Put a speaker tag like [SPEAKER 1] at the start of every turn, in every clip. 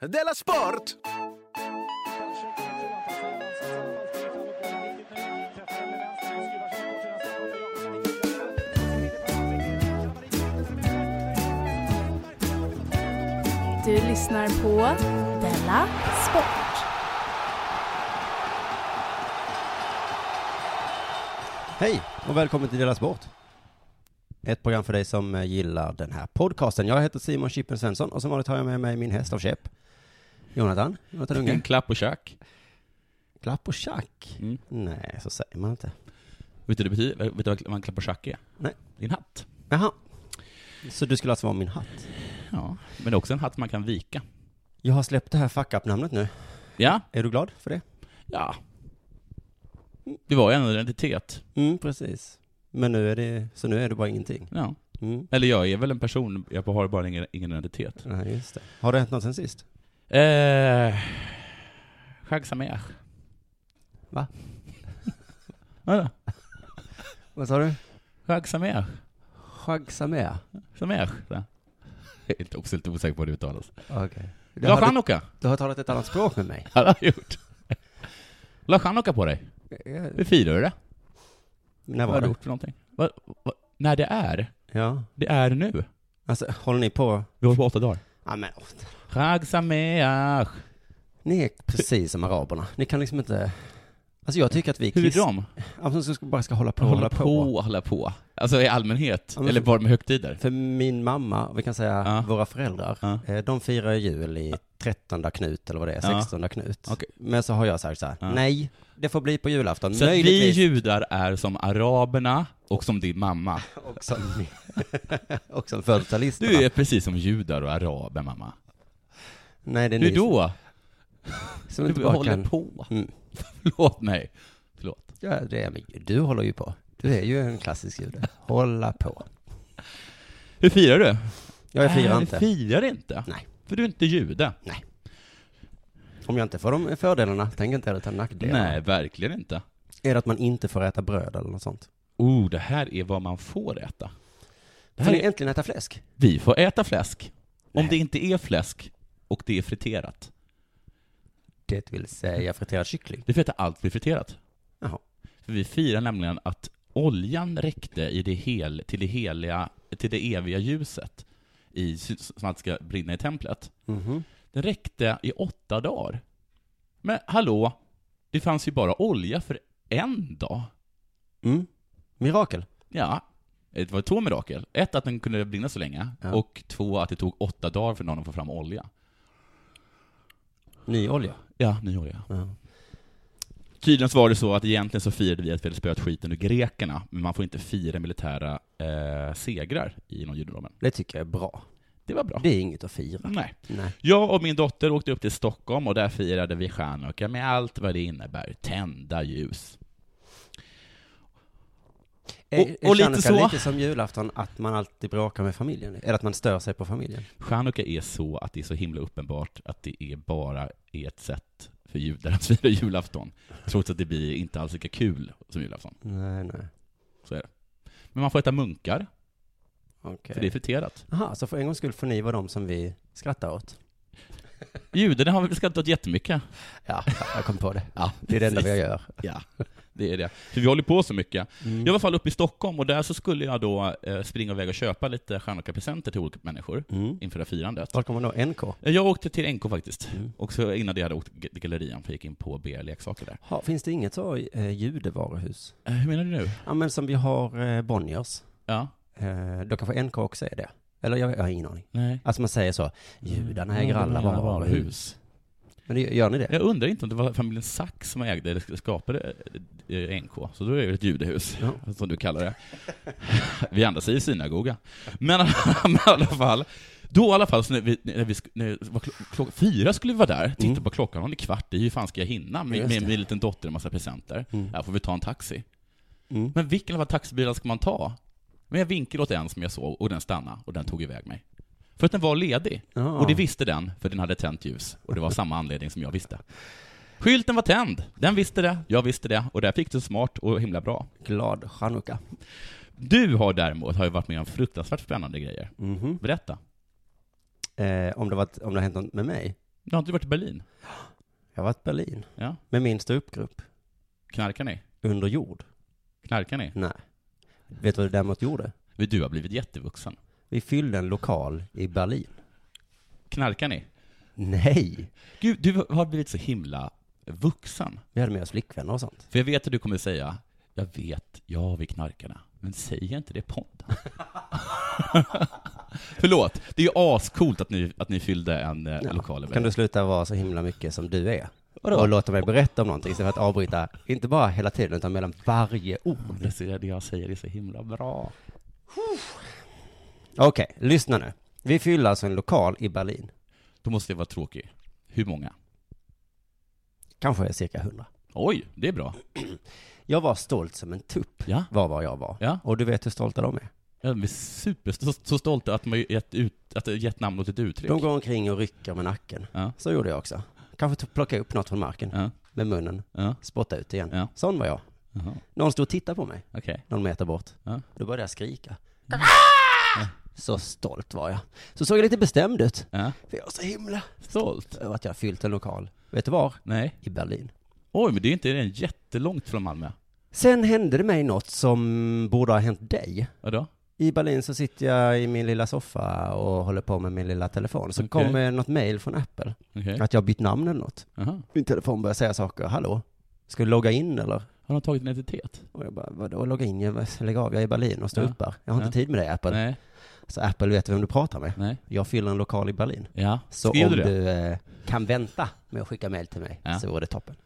[SPEAKER 1] Della Sport!
[SPEAKER 2] Du lyssnar på Della Sport.
[SPEAKER 3] Hej och välkommen till Dela Sport. Ett program för dig som eh, gillar den här podcasten. Jag heter Simon Chippen Svensson och som vanligt har jag med mig min häst av käpp. Jonathan, Jonathan Unge.
[SPEAKER 4] En klapp och tjack.
[SPEAKER 3] Klapp och tjack.
[SPEAKER 4] Mm.
[SPEAKER 3] Nej, så säger man inte.
[SPEAKER 4] Vet du, det betyder, vet du vad en klapp och tjack är?
[SPEAKER 3] Nej.
[SPEAKER 4] Det är en hatt.
[SPEAKER 3] Jaha. Så du skulle alltså vara min hatt?
[SPEAKER 4] Ja. Men det är också en hatt man kan vika.
[SPEAKER 3] Jag har släppt det här fuck up-namnet nu.
[SPEAKER 4] Ja.
[SPEAKER 3] Är du glad för det?
[SPEAKER 4] Ja. Det var ju en identitet.
[SPEAKER 3] Mm, precis. Men nu är det, så nu är det bara ingenting.
[SPEAKER 4] Ja.
[SPEAKER 3] Mm.
[SPEAKER 4] Eller jag är väl en person, jag har bara ingen, ingen identitet.
[SPEAKER 3] Nej, just det. Har det hänt något sen sist?
[SPEAKER 4] Eh... Chag Sameach.
[SPEAKER 3] Va?
[SPEAKER 4] Vadå?
[SPEAKER 3] Vad sa du?
[SPEAKER 4] Chag Sameach.
[SPEAKER 3] Chagsamea?
[SPEAKER 4] Sameach. Ja. Jag är inte- också lite osäker på hur det uttalas.
[SPEAKER 3] Okej. Du,
[SPEAKER 4] La
[SPEAKER 3] har- du,
[SPEAKER 4] chanukka.
[SPEAKER 3] du har talat ett annat språk med mig.
[SPEAKER 4] Ja, det har jag gjort. La chanukka på dig. Hur firar du det?
[SPEAKER 3] När
[SPEAKER 4] Vad
[SPEAKER 3] var
[SPEAKER 4] har du
[SPEAKER 3] det?
[SPEAKER 4] gjort för någonting? Vad- vad- när det är?
[SPEAKER 3] Ja.
[SPEAKER 4] Det är nu.
[SPEAKER 3] Alltså, håller ni på?
[SPEAKER 4] Vi håller på åtta dagar.
[SPEAKER 3] Ja, men, åh,
[SPEAKER 4] Chag Sameach.
[SPEAKER 3] ni är precis som araberna. Ni kan liksom inte... Alltså jag tycker att vi
[SPEAKER 4] Hur är
[SPEAKER 3] kristna...
[SPEAKER 4] de?
[SPEAKER 3] Alltså, så ska- bara ska hålla på,
[SPEAKER 4] Hålla på, hålla på. Alltså i allmänhet,
[SPEAKER 3] Ja, men-
[SPEAKER 4] eller bara med högtider.
[SPEAKER 3] För min mamma, vi kan säga
[SPEAKER 4] Ja.
[SPEAKER 3] våra föräldrar,
[SPEAKER 4] Ja.
[SPEAKER 3] eh, de firar ju jul i 13 knut eller vad det är,
[SPEAKER 4] Ja.
[SPEAKER 3] 16 knut.
[SPEAKER 4] Okej.
[SPEAKER 3] Men så har jag sagt så här,
[SPEAKER 4] Ja.
[SPEAKER 3] nej, det får bli på julafton,
[SPEAKER 4] Så att vi
[SPEAKER 3] möjligtvis.
[SPEAKER 4] judar är som araberna och som din mamma.
[SPEAKER 3] Och som, och som
[SPEAKER 4] Du
[SPEAKER 3] födelsetalisterna.
[SPEAKER 4] är precis som judar och araber, mamma.
[SPEAKER 3] Nej, det är
[SPEAKER 4] Du
[SPEAKER 3] ni
[SPEAKER 4] då?
[SPEAKER 3] som- som inte
[SPEAKER 4] Du
[SPEAKER 3] bara
[SPEAKER 4] håller
[SPEAKER 3] kan...
[SPEAKER 4] på.
[SPEAKER 3] Mm.
[SPEAKER 4] Förlåt mig. Förlåt.
[SPEAKER 3] Ja, det är, men du håller ju på. Du är ju en klassisk jude. Hålla på.
[SPEAKER 4] Hur firar du?
[SPEAKER 3] Ja, jag firar
[SPEAKER 4] Nej,
[SPEAKER 3] inte.
[SPEAKER 4] Du firar inte?
[SPEAKER 3] Nej.
[SPEAKER 4] För du är inte jude?
[SPEAKER 3] Om jag inte får de fördelarna, tänk inte heller ta nackdelarna.
[SPEAKER 4] Nej, verkligen inte.
[SPEAKER 3] Är det att man inte får äta bröd eller något sånt?
[SPEAKER 4] Oh, det här är vad man får äta.
[SPEAKER 3] får
[SPEAKER 4] Det här
[SPEAKER 3] ni
[SPEAKER 4] är...
[SPEAKER 3] äntligen äta fläsk?
[SPEAKER 4] Vi får äta fläsk.
[SPEAKER 3] Nej.
[SPEAKER 4] Om det inte är fläsk och det är friterat.
[SPEAKER 3] Det vill säga friterad kyckling.
[SPEAKER 4] Vi får äta allt blir friterat.
[SPEAKER 3] Jaha.
[SPEAKER 4] För vi firar nämligen att oljan räckte i det hel, till, det heliga, till det eviga ljuset i, som att det ska brinna i templet.
[SPEAKER 3] Mhm.
[SPEAKER 4] Den räckte i åtta dagar. Men hallå, det fanns ju bara olja för en dag.
[SPEAKER 3] Mm. Mirakel.
[SPEAKER 4] Ja, det var två mirakel. Ett, att den kunde brinna så länge.
[SPEAKER 3] Ja.
[SPEAKER 4] Och två, att det tog åtta dagar för någon att få fram olja.
[SPEAKER 3] Ny olja.
[SPEAKER 4] Ja, ny olja.
[SPEAKER 3] Ja.
[SPEAKER 4] Tydligen så var det så att egentligen så firade vi att vi hade spöat skiten ur grekerna, men man får inte fira militära eh, segrar inom judendomen.
[SPEAKER 3] Det tycker jag är bra.
[SPEAKER 4] Det var bra.
[SPEAKER 3] Det är inget att fira.
[SPEAKER 4] Nej.
[SPEAKER 3] Nej.
[SPEAKER 4] Jag och min dotter åkte upp till Stockholm och där firade vi chanukka med allt vad det innebär. Tända ljus.
[SPEAKER 3] Och, är
[SPEAKER 4] och lite
[SPEAKER 3] lite
[SPEAKER 4] så.
[SPEAKER 3] lite som julafton, att man alltid bråkar med familjen? Eller att man stör sig på familjen?
[SPEAKER 4] Chanukka är så att det är så himla uppenbart att det är bara är ett sätt för judar att fira julafton, trots att det blir inte alls lika kul som julafton.
[SPEAKER 3] Nej, nej.
[SPEAKER 4] Så är det. Men man får äta munkar,
[SPEAKER 3] Okej.
[SPEAKER 4] för det är friterat.
[SPEAKER 3] Aha, så för en gångs skull får ni vara de som vi skrattar åt?
[SPEAKER 4] Judarna har väl skrattat åt jättemycket.
[SPEAKER 3] Ja, jag kom på det.
[SPEAKER 4] Ja,
[SPEAKER 3] Det är det enda jag gör.
[SPEAKER 4] Ja, det är det. För vi håller på så mycket. Jag var i
[SPEAKER 3] Mm.
[SPEAKER 4] alla fall uppe i Stockholm och där så skulle jag då eh, springa iväg och köpa lite chanukka-presenter till olika människor
[SPEAKER 3] Mm.
[SPEAKER 4] inför det här firandet. Eh,
[SPEAKER 3] Vart kommer då NK?
[SPEAKER 4] Jag åkte till NK faktiskt,
[SPEAKER 3] Mm.
[SPEAKER 4] och så innan det hade jag åkt till gallerian, för jag gick in på BR Leksaker där.
[SPEAKER 3] Ha, finns det inget så eh, judevaruhus?
[SPEAKER 4] Eh, Hur menar du nu?
[SPEAKER 3] Ja, men som vi har eh, Bonniers.
[SPEAKER 4] Ja,
[SPEAKER 3] Eh, då kanske NK också är det. Eller jag, jag har ingen aning.
[SPEAKER 4] nej. Mm.
[SPEAKER 3] Alltså man säger så, judarna äger alla
[SPEAKER 4] Judarna äger
[SPEAKER 3] varuhus. Men det, gör ni det?
[SPEAKER 4] Jag undrar inte om det var familjen Sachs som ägde eller skapade eh, NK, så då är det ett judehus,
[SPEAKER 3] Ja.
[SPEAKER 4] som du kallar det. Vi andra säger synagoga. Men i alla fall, då i alla fall, så när vi, när vi, sk- när det var klo- klockan fyra skulle vi vara där, titta på klockan, hon är kvart i, hur fan ska jag hinna
[SPEAKER 3] Mm.
[SPEAKER 4] med,
[SPEAKER 3] Just
[SPEAKER 4] med
[SPEAKER 3] det.
[SPEAKER 4] min liten dotter och en massa presenter? Här får vi ta en taxi.
[SPEAKER 3] Mm.
[SPEAKER 4] Men vilken av alla taxibilar ska man ta? Men jag vinkade åt en som jag såg, och den stannade, och den tog iväg mig. För att den var ledig.
[SPEAKER 3] Ja.
[SPEAKER 4] Och det visste den, för den hade tänt ljus. Och det var samma anledning som jag visste. Skylten var tänd. Den visste det, jag visste det. Och där fick du smart och himla bra.
[SPEAKER 3] Glad chanukka.
[SPEAKER 4] Du har däremot har ju varit med om fruktansvärt spännande grejer.
[SPEAKER 3] Mhm.
[SPEAKER 4] Berätta.
[SPEAKER 3] Eh, om, det var, om det har hänt något med mig?
[SPEAKER 4] Du har inte varit i Berlin?
[SPEAKER 3] Jag har varit i Berlin
[SPEAKER 4] Ja.
[SPEAKER 3] med min ståuppgrupp
[SPEAKER 4] Knarkar ni?
[SPEAKER 3] under jord.
[SPEAKER 4] Knarkar ni?
[SPEAKER 3] Nej. Vet du vad vi däremot gjorde?
[SPEAKER 4] Du har blivit jättevuxen.
[SPEAKER 3] Vi fyllde en lokal i Berlin.
[SPEAKER 4] Knarkar ni?
[SPEAKER 3] Nej!
[SPEAKER 4] Gud, du har blivit så himla vuxen.
[SPEAKER 3] Vi hade med oss flickvänner och sånt.
[SPEAKER 4] För jag vet att du kommer säga, jag vet, ja vi knarkarna, men säg inte det i podden. Förlåt, det är ju ascoolt att ni, att ni fyllde en eh, lokal i
[SPEAKER 3] Kan
[SPEAKER 4] Berlin.
[SPEAKER 3] du sluta vara så himla mycket som du är?
[SPEAKER 4] Vadå?
[SPEAKER 3] Och låta mig berätta om någonting istället för att avbryta, inte bara hela tiden, utan mellan varje ord.
[SPEAKER 4] Det ser- Det jag säger är så himla bra.
[SPEAKER 3] Okej, lyssna nu. Vi fyllde alltså en lokal i Berlin.
[SPEAKER 4] Då måste jag vara tråkig. Hur många?
[SPEAKER 3] Kanske cirka hundra.
[SPEAKER 4] Oj, det är bra.
[SPEAKER 3] Jag var stolt som en tupp,
[SPEAKER 4] Ja,
[SPEAKER 3] var vad jag var.
[SPEAKER 4] Ja.
[SPEAKER 3] Och du vet hur stolta de är.
[SPEAKER 4] jag är super, så, så stolt att man gett, ut, att gett namn åt ett uttryck.
[SPEAKER 3] De går omkring och rycker med nacken.
[SPEAKER 4] Ja.
[SPEAKER 3] Så gjorde jag också. Kanske t- plocka upp något från marken,
[SPEAKER 4] Ja,
[SPEAKER 3] med munnen,
[SPEAKER 4] ja,
[SPEAKER 3] spotta ut igen.
[SPEAKER 4] Ja.
[SPEAKER 3] Sån var jag.
[SPEAKER 4] jaha,
[SPEAKER 3] Någon stod och tittade på mig,
[SPEAKER 4] okej.
[SPEAKER 3] någon meter bort.
[SPEAKER 4] Ja.
[SPEAKER 3] Då började jag skrika. Ah! Så stolt var jag. Så såg jag lite bestämd ut.
[SPEAKER 4] Ja.
[SPEAKER 3] För jag var så himla
[SPEAKER 4] Stolt?
[SPEAKER 3] över att jag fyllt en lokal. Vet du var?
[SPEAKER 4] Nej.
[SPEAKER 3] I Berlin.
[SPEAKER 4] Oj, men det är inte det är jättelångt från Malmö.
[SPEAKER 3] Sen hände det mig något som borde ha hänt dig.
[SPEAKER 4] Vadå?
[SPEAKER 3] I Berlin så sitter jag i min lilla soffa och håller på med min lilla telefon. Så
[SPEAKER 4] Okej.
[SPEAKER 3] kommer något mail från Apple.
[SPEAKER 4] Okej.
[SPEAKER 3] Att jag har bytt namn eller något.
[SPEAKER 4] Jaha.
[SPEAKER 3] Min telefon börjar säga saker. Hallå? Ska du logga in eller?
[SPEAKER 4] Har de tagit en identitet?
[SPEAKER 3] Och jag bara, vadå logga in? Jag, lägg av, jag är i Berlin och står
[SPEAKER 4] Ja.
[SPEAKER 3] upp här. Jag har inte
[SPEAKER 4] Ja.
[SPEAKER 3] tid med dig Apple.
[SPEAKER 4] Nej.
[SPEAKER 3] Så Apple vet vem du pratar med.
[SPEAKER 4] Nej.
[SPEAKER 3] Jag fyller en lokal i Berlin.
[SPEAKER 4] Ja.
[SPEAKER 3] Så
[SPEAKER 4] Skrev
[SPEAKER 3] om
[SPEAKER 4] du
[SPEAKER 3] du,
[SPEAKER 4] det?
[SPEAKER 3] eh, kan vänta med att skicka mail till mig
[SPEAKER 4] Ja.
[SPEAKER 3] så vore det toppen.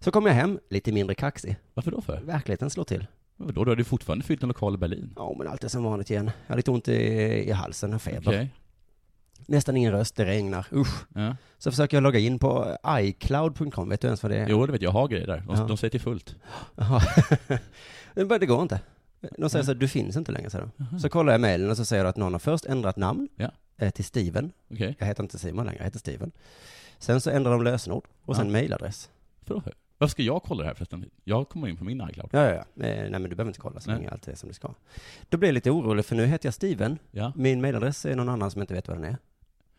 [SPEAKER 3] Så kom jag hem, lite mindre kaxig.
[SPEAKER 4] Varför då för?
[SPEAKER 3] Verkligheten slår till.
[SPEAKER 4] Vadå, då har du fortfarande fyllt en lokal i Berlin?
[SPEAKER 3] Ja, men allt är som vanligt igen. Jag har lite ont i, i halsen, och feber.
[SPEAKER 4] Okej.
[SPEAKER 3] Nästan ingen röst, det regnar. Usch.
[SPEAKER 4] Ja.
[SPEAKER 3] Så försöker jag logga in på iCloud.com, vet du ens vad det är?
[SPEAKER 4] Jo, det vet jag. Jag har grejer där. De,
[SPEAKER 3] Ja.
[SPEAKER 4] de säger till fullt.
[SPEAKER 3] Jaha. Men bara, det går inte. De säger så här, du finns inte längre, säger de. Så kollar jag mailen och så säger det att någon har först ändrat namn
[SPEAKER 4] Ja.
[SPEAKER 3] eh, till Steven.
[SPEAKER 4] Okej.
[SPEAKER 3] Jag heter inte Simon längre, jag heter Steven. Sen så ändrar de lösenord och sen
[SPEAKER 4] Ja.
[SPEAKER 3] mailadress.
[SPEAKER 4] Varför då för? Varför ska jag kolla det här förresten? Jag kommer in på min iCloud.
[SPEAKER 3] Ja, ja, ja. Eh, Nej, men du behöver inte kolla så
[SPEAKER 4] Nej.
[SPEAKER 3] länge allt är som det ska. Då blir jag lite orolig, för nu heter jag Steven.
[SPEAKER 4] Ja.
[SPEAKER 3] Min mailadress är någon annan som inte vet vad den är.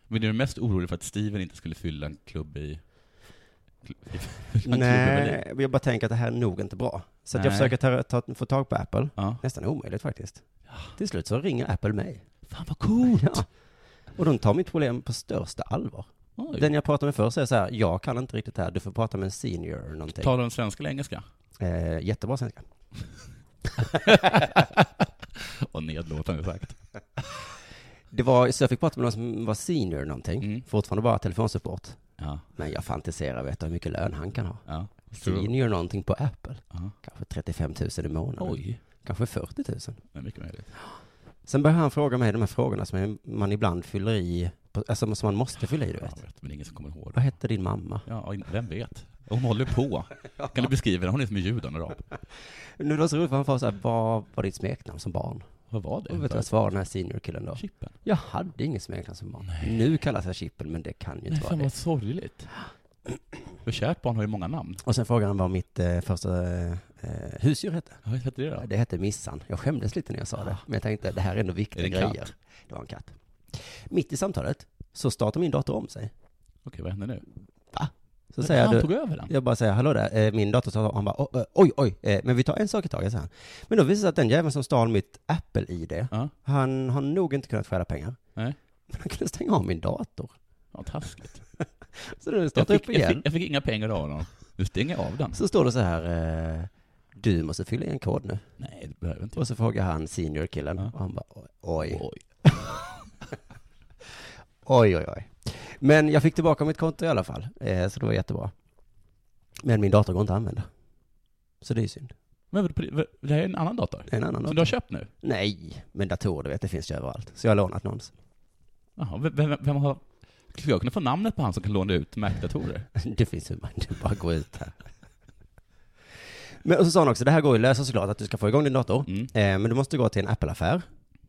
[SPEAKER 4] Men du är mest orolig för att Steven inte skulle fylla en klubb i... kl- i- fylla en klubb i Berlin?
[SPEAKER 3] Nej, jag bara tänker att det här är nog inte bra. Så att jag
[SPEAKER 4] Nej.
[SPEAKER 3] försöker ta, ta, få tag på Apple.
[SPEAKER 4] Ja.
[SPEAKER 3] Nästan omöjligt faktiskt. Till slut så ringer Apple mig.
[SPEAKER 4] Fan vad coolt!
[SPEAKER 3] Ja. Och de tar mitt problem på största allvar.
[SPEAKER 4] Oj.
[SPEAKER 3] Den jag pratade med förr säger så här, jag kan inte riktigt det här, du får prata med en senior eller någonting.
[SPEAKER 4] Talar de svenska eller engelska?
[SPEAKER 3] Eh, jättebra svenska.
[SPEAKER 4] Och nedlåtande sagt.
[SPEAKER 3] Det var, så jag fick prata med någon som var senior eller någonting,
[SPEAKER 4] Mm.
[SPEAKER 3] fortfarande bara telefonsupport.
[SPEAKER 4] Ja.
[SPEAKER 3] Men jag fantiserar, vet du hur mycket lön han kan ha?
[SPEAKER 4] Ja.
[SPEAKER 3] Senior någonting på Apple.
[SPEAKER 4] Ja.
[SPEAKER 3] Kanske 35 000 i månaden.
[SPEAKER 4] Oj.
[SPEAKER 3] Kanske 40 000.
[SPEAKER 4] Det är mycket möjligt.
[SPEAKER 3] Sen börjar han fråga mig de här frågorna som man ibland fyller i, på, alltså som man måste fylla i, du
[SPEAKER 4] Ja,
[SPEAKER 3] vet.
[SPEAKER 4] jag vet, men det är ingen som kommer ihåg.
[SPEAKER 3] Vad hette din mamma?
[SPEAKER 4] Ja, vem vet? Hon håller på. Kan du beskriva det? Hon är som en judanarab.
[SPEAKER 3] Nu var det så roligt för han frågade så här, vad var ditt smeknamn som barn?
[SPEAKER 4] Vad var det?
[SPEAKER 3] Och vet du vad jag svarade den här seniorkillen då?
[SPEAKER 4] Chippen?
[SPEAKER 3] Jag hade inget smeknamn som barn. Nu kallas jag Chippen, men det kan ju
[SPEAKER 4] Nej,
[SPEAKER 3] inte vara
[SPEAKER 4] fan
[SPEAKER 3] det.
[SPEAKER 4] vad sorgligt. För kärt barn har ju många namn.
[SPEAKER 3] Och sen frågade han vad mitt eh, första eh, eh, husdjur hette.
[SPEAKER 4] Ja, Vad heter det då?
[SPEAKER 3] Det hette Missan. Jag skämdes lite när jag sa det. Men jag tänkte, det här är ändå viktiga
[SPEAKER 4] Är det en
[SPEAKER 3] grejer. Det var en katt. Mitt i samtalet så startar min dator om sig.
[SPEAKER 4] Okej, vad händer nu?
[SPEAKER 3] Så säger
[SPEAKER 4] han
[SPEAKER 3] jag,
[SPEAKER 4] tog
[SPEAKER 3] du,
[SPEAKER 4] över den?
[SPEAKER 3] jag bara säger, hallå där, eh, min dator startar om. Han bara, "Oj, eh, oj, oj, eh, men vi tar en sak i taget, säger han. Men då visar det sig att den jäveln som stal mitt Apple-ID,
[SPEAKER 4] Ja.
[SPEAKER 3] han har nog inte kunnat stjäla pengar.
[SPEAKER 4] Nej.
[SPEAKER 3] Men han kunde stänga av min dator.
[SPEAKER 4] Ja, taskigt.
[SPEAKER 3] Så den
[SPEAKER 4] Jag
[SPEAKER 3] startar
[SPEAKER 4] fick,
[SPEAKER 3] upp igen.
[SPEAKER 4] jag, fick, jag fick inga pengar av honom. Nu stänger jag av den.
[SPEAKER 3] Så står det så här, eh, du måste fylla i en kod nu.
[SPEAKER 4] Nej, det behöver jag inte.
[SPEAKER 3] Och så frågar han seniorkillen,
[SPEAKER 4] Ja.
[SPEAKER 3] och han bara, "Oj, oj.
[SPEAKER 4] Oj.
[SPEAKER 3] Oj, oj, oj. Men jag fick tillbaka mitt konto i alla fall, eh, så det var jättebra. Men min dator går inte att använda. Så det är ju synd.
[SPEAKER 4] Men vad- vad- det här är en annan dator?
[SPEAKER 3] En annan
[SPEAKER 4] Som
[SPEAKER 3] dator.
[SPEAKER 4] du har köpt nu?
[SPEAKER 3] Nej, men datorer, du vet, det finns ju överallt. Så jag har lånat någons.
[SPEAKER 4] Jaha, vem, vem, vem har... Skulle jag kunna få namnet på han som kan låna ut Mac-datorer?
[SPEAKER 3] Det finns ju, man kan bara gå ut här. Men och så sa han också, det här går ju att lösa såklart, att du ska få igång din dator.
[SPEAKER 4] Mm.
[SPEAKER 3] Eh, men du måste gå till en Apple-affär.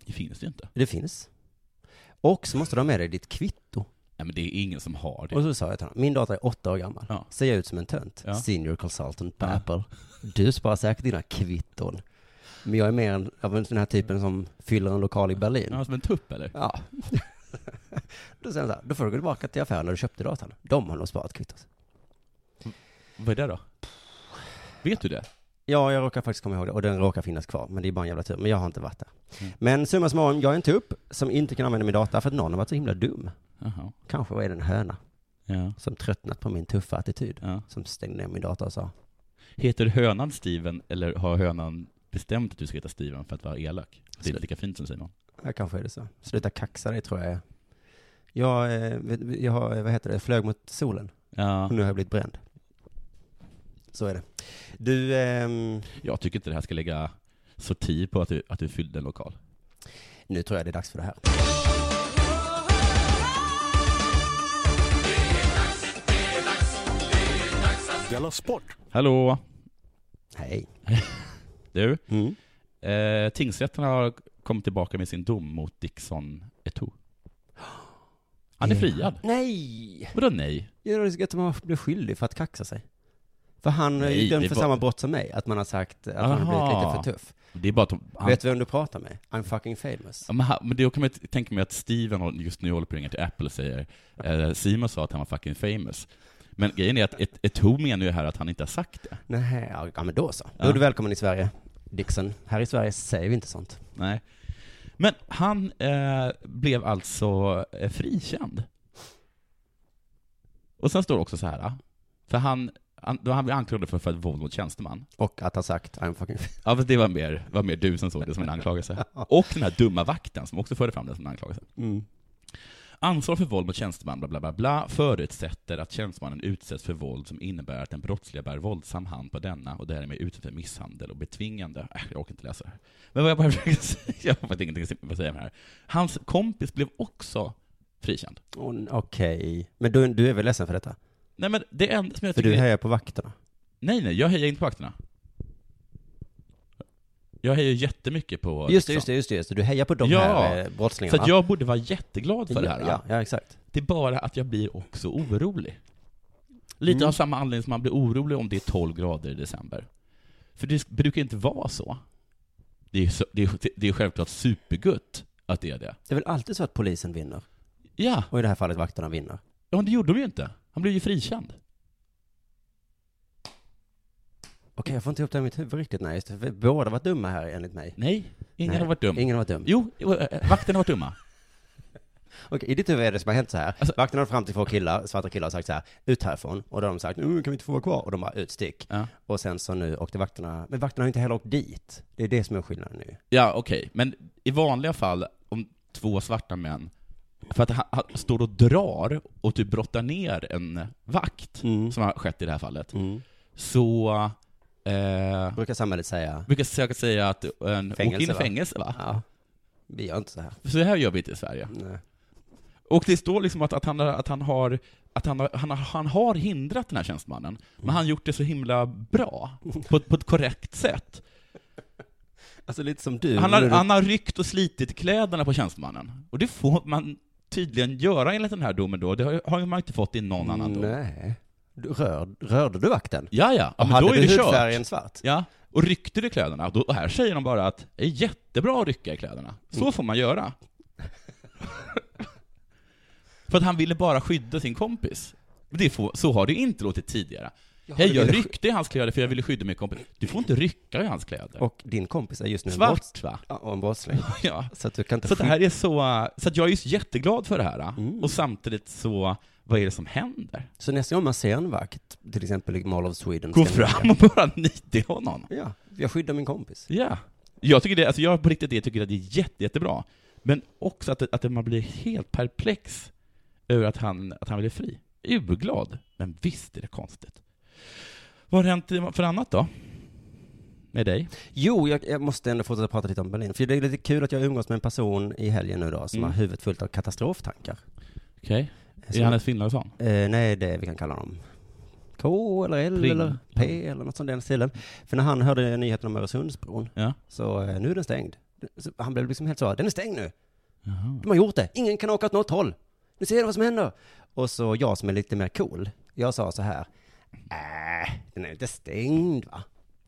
[SPEAKER 4] Det finns det ju inte.
[SPEAKER 3] Det finns. Och så måste du ha med dig ditt kvitto.
[SPEAKER 4] Nej, men det är ingen som har det.
[SPEAKER 3] Och så sa jag till honom, min dator är åtta år gammal.
[SPEAKER 4] Ja.
[SPEAKER 3] Ser jag ut som en tönt?
[SPEAKER 4] Ja.
[SPEAKER 3] Senior consultant på
[SPEAKER 4] Ja.
[SPEAKER 3] Apple. Du sparar säkert dina kvitton. Men jag är mer en, av den här typen som fyller en lokal i Berlin.
[SPEAKER 4] Ja, som en tupp eller?
[SPEAKER 3] Ja. Då säger han så här, då får du gå tillbaka till affären där du köpte datan. De har nog sparat kvittot.
[SPEAKER 4] Vad är det då? Vet du det?
[SPEAKER 3] Ja, jag råkar faktiskt komma ihåg det. Och den råkar finnas kvar. Men det är bara en jävla tur. Men jag har inte varit där.
[SPEAKER 4] Mm.
[SPEAKER 3] Men summa summarum, jag är en tupp som inte kan använda min data för att någon har varit så himla dum.
[SPEAKER 4] Jaha.
[SPEAKER 3] Kanske var det en höna
[SPEAKER 4] Ja.
[SPEAKER 3] som tröttnat på min tuffa attityd.
[SPEAKER 4] ja.
[SPEAKER 3] Som stängde ner min data och sa,
[SPEAKER 4] Heter hönan Steven, eller har hönan bestämt att du ska heta Steven för att vara elak? Det är
[SPEAKER 3] Slut.
[SPEAKER 4] lika fint som Simon.
[SPEAKER 3] ja kanske är det så. Sluta kaxa dig tror jag är. Jag, eh, vet- jag, har, eh, vad heter det, flög mot solen.
[SPEAKER 4] Ja.
[SPEAKER 3] Och nu har jag blivit bränd. Så är det. Du, ehm,
[SPEAKER 4] Jag tycker inte det här ska lägga sorti på att du, att du fyllde en lokal.
[SPEAKER 3] nu tror jag det är dags för det här.
[SPEAKER 1] Della Sport!
[SPEAKER 4] Hallå!
[SPEAKER 3] Hej.
[SPEAKER 4] Du,
[SPEAKER 3] Mm.
[SPEAKER 4] eh, tingsrätten har kommit tillbaka med sin dom mot Dixon Eto'o. Han är friad.
[SPEAKER 3] Nej!
[SPEAKER 4] Vadå nej?
[SPEAKER 3] Ja, det är så gött att man blir skyldig för att kaxa sig. För han eh, är
[SPEAKER 4] Nej,
[SPEAKER 3] ju
[SPEAKER 4] det
[SPEAKER 3] dömd för
[SPEAKER 4] var-
[SPEAKER 3] samma brott som mig, att man har sagt att man har blivit
[SPEAKER 4] Aha.
[SPEAKER 3] lite för tuff.
[SPEAKER 4] Det är bara att de- han...
[SPEAKER 3] Vet du vem du pratar med? I'm fucking famous.
[SPEAKER 4] Ja, Men, han, men då kan man ju t- tänka mig att Steven har- just nu håller på att ringa till Apple och säger eh, Simon sa att han var fucking famous. Men grejen är att ett, ett ho menar ju här att han inte har sagt det.
[SPEAKER 3] Nej, ja, ja, men då så. Då
[SPEAKER 4] Ja.
[SPEAKER 3] är du välkommen i Sverige, Dixon. Här i Sverige säger vi inte sånt.
[SPEAKER 4] Nej. Men han eh, blev alltså eh, frikänd. Och sen står det också så här, ah, för han, han, då han blev anklagad för, för ett våld mot tjänsteman.
[SPEAKER 3] Och att ha sagt I'm fucking
[SPEAKER 4] Ja, fast det var mer, var mer du som såg det som en anklagelse. Och den här dumma vakten som också förde fram det som en anklagelse.
[SPEAKER 3] mm.
[SPEAKER 4] Ansvar för våld mot tjänsteman bla bla bla bla förutsätter att tjänstemannen utsätts för våld som innebär att den brottsliga bär våldsam hand på denna och därmed utsätts för misshandel och betvingande. Äh, jag orkar inte läsa det här. Men vad jag bara försöker säga, jag har faktiskt ingenting att säga om det här. Hans kompis blev också frikänd.
[SPEAKER 3] Åh, Okej. Men du, du är väl ledsen för detta?
[SPEAKER 4] Nej men det enda som jag
[SPEAKER 3] För
[SPEAKER 4] tycker...
[SPEAKER 3] du hejar på vakterna?
[SPEAKER 4] Nej nej, jag hejar inte på vakterna. Jag hejar jättemycket på...
[SPEAKER 3] Just det, just det, just det, just det. Du hejar på de
[SPEAKER 4] Ja.
[SPEAKER 3] här eh,
[SPEAKER 4] Så
[SPEAKER 3] brottslingarna.
[SPEAKER 4] att jag borde vara jätteglad för det här.
[SPEAKER 3] Ja, ja, exakt.
[SPEAKER 4] Det är bara att jag blir också orolig. Lite
[SPEAKER 3] Mm.
[SPEAKER 4] av samma anledning som man blir orolig om det är 12 grader i december. För det brukar inte vara så. Det är, så, det är, det är självklart supergött att det är det.
[SPEAKER 3] Det är väl alltid så att polisen vinner?
[SPEAKER 4] Ja,
[SPEAKER 3] Och i det här fallet vakterna vinner.
[SPEAKER 4] ja, men det gjorde de ju inte. Han blev ju frikänd.
[SPEAKER 3] Okej, jag får inte ihop det här i mitt huvud riktigt. Nej, just det. För Båda var dumma här enligt mig.
[SPEAKER 4] Nej, ingen
[SPEAKER 3] Nej,
[SPEAKER 4] har varit dum.
[SPEAKER 3] Ingen var dum.
[SPEAKER 4] Jo, jo, eh, vakterna har varit dumma.
[SPEAKER 3] Okej, i ditt huvud är det som har hänt så här.
[SPEAKER 4] Alltså-
[SPEAKER 3] Vakterna har fram till två killar, svarta killar, och sagt så här, ut härifrån. Och då har de sagt, nu kan vi inte få vara kvar. Och de bara, utstick.
[SPEAKER 4] Ja,
[SPEAKER 3] Och sen så nu åkte vakterna, men vakterna har ju inte heller åkt dit. Det är det som är skillnaden nu.
[SPEAKER 4] ja okej. Men i vanliga fall, om två svarta män, för att han, han står och drar och typ brottar ner en vakt,
[SPEAKER 3] Mm.
[SPEAKER 4] som har skett i det här fallet,
[SPEAKER 3] Mm.
[SPEAKER 4] så eh,
[SPEAKER 3] Brukar samhället säga,
[SPEAKER 4] brukar säkert säga att en, åk in
[SPEAKER 3] Fängelse,
[SPEAKER 4] i
[SPEAKER 3] va?
[SPEAKER 4] fängelse va?
[SPEAKER 3] ja, Mm. vi gör inte så här.
[SPEAKER 4] Så här gör vi inte i Sverige.
[SPEAKER 3] Nej.
[SPEAKER 4] Och det står liksom att, att, han, har- att han har att han, har- han, har- han har hindrat den här tjänstemannen, men
[SPEAKER 3] Mm.
[SPEAKER 4] han har gjort det så himla bra, på, ett- på ett korrekt sätt.
[SPEAKER 3] Alltså lite som du.
[SPEAKER 4] Han har,
[SPEAKER 3] när du-
[SPEAKER 4] han har ryckt och slitit kläderna på tjänstemannen. Och det får man tydligen göra enligt den här domen då, det har, har ju man inte fått i någon annan dom.
[SPEAKER 3] Nej. Du, rör, rörde du vakten?
[SPEAKER 4] Ja, ja, ja men
[SPEAKER 3] hade
[SPEAKER 4] då är
[SPEAKER 3] du
[SPEAKER 4] det kört.
[SPEAKER 3] hudfärgen svart?
[SPEAKER 4] Ja, och ryckte du kläderna, då, och här säger de bara att det är jättebra att rycka i kläderna. Så
[SPEAKER 3] Mm.
[SPEAKER 4] får man göra. För att han ville bara skydda sin kompis. Men Det får, så har det inte låtit tidigare. Hej, jag ryckte i hans kläder för jag ville skydda min kompis. Du får inte rycka i hans kläder.
[SPEAKER 3] Och din kompis är just nu en brotts-
[SPEAKER 4] Svart, va?
[SPEAKER 3] Ja, och en brottsling.
[SPEAKER 4] Ja.
[SPEAKER 3] Så att du kan inte
[SPEAKER 4] Så det här är så... äh, Så att jag är ju jätteglad för det här. äh. Och samtidigt så, vad är det som händer?
[SPEAKER 3] Så nästa gång man ser en vakt, till exempel i Mall of Sweden.
[SPEAKER 4] Gå
[SPEAKER 3] ska man-
[SPEAKER 4] fram och bara nita honom.
[SPEAKER 3] Ja, jag skyddar min kompis.
[SPEAKER 4] Ja. Jag tycker det, alltså jag på riktigt det tycker att det är jätte, jättebra. Men också att, att man blir helt perplex över att han, att han blev fri. Urglad. Men visst är det konstigt. Vad har hänt för annat då? Med dig?
[SPEAKER 3] Jo, jag, jag måste ändå fortsätta prata lite om Berlin. För det är lite kul att jag umgås med en person i helgen nu då, som
[SPEAKER 4] Mm.
[SPEAKER 3] har huvudet fullt av katastroftankar.
[SPEAKER 4] Okej.
[SPEAKER 3] Så-
[SPEAKER 4] Är han ett finlandsson?
[SPEAKER 3] Eh, nej, det vi kan kalla honom K eller L
[SPEAKER 4] Pring.
[SPEAKER 3] eller P eller något sånt i den stilen. För när han hörde nyheten om Öresundsbron,
[SPEAKER 4] Ja.
[SPEAKER 3] så eh, nu är den stängd. Så han blev liksom helt så, den är stängd nu. De har gjort det, ingen kan åka åt något håll. Nu ser du vad som händer. Och så jag som är lite mer cool, jag sa så här, äh, den är inte stängd va?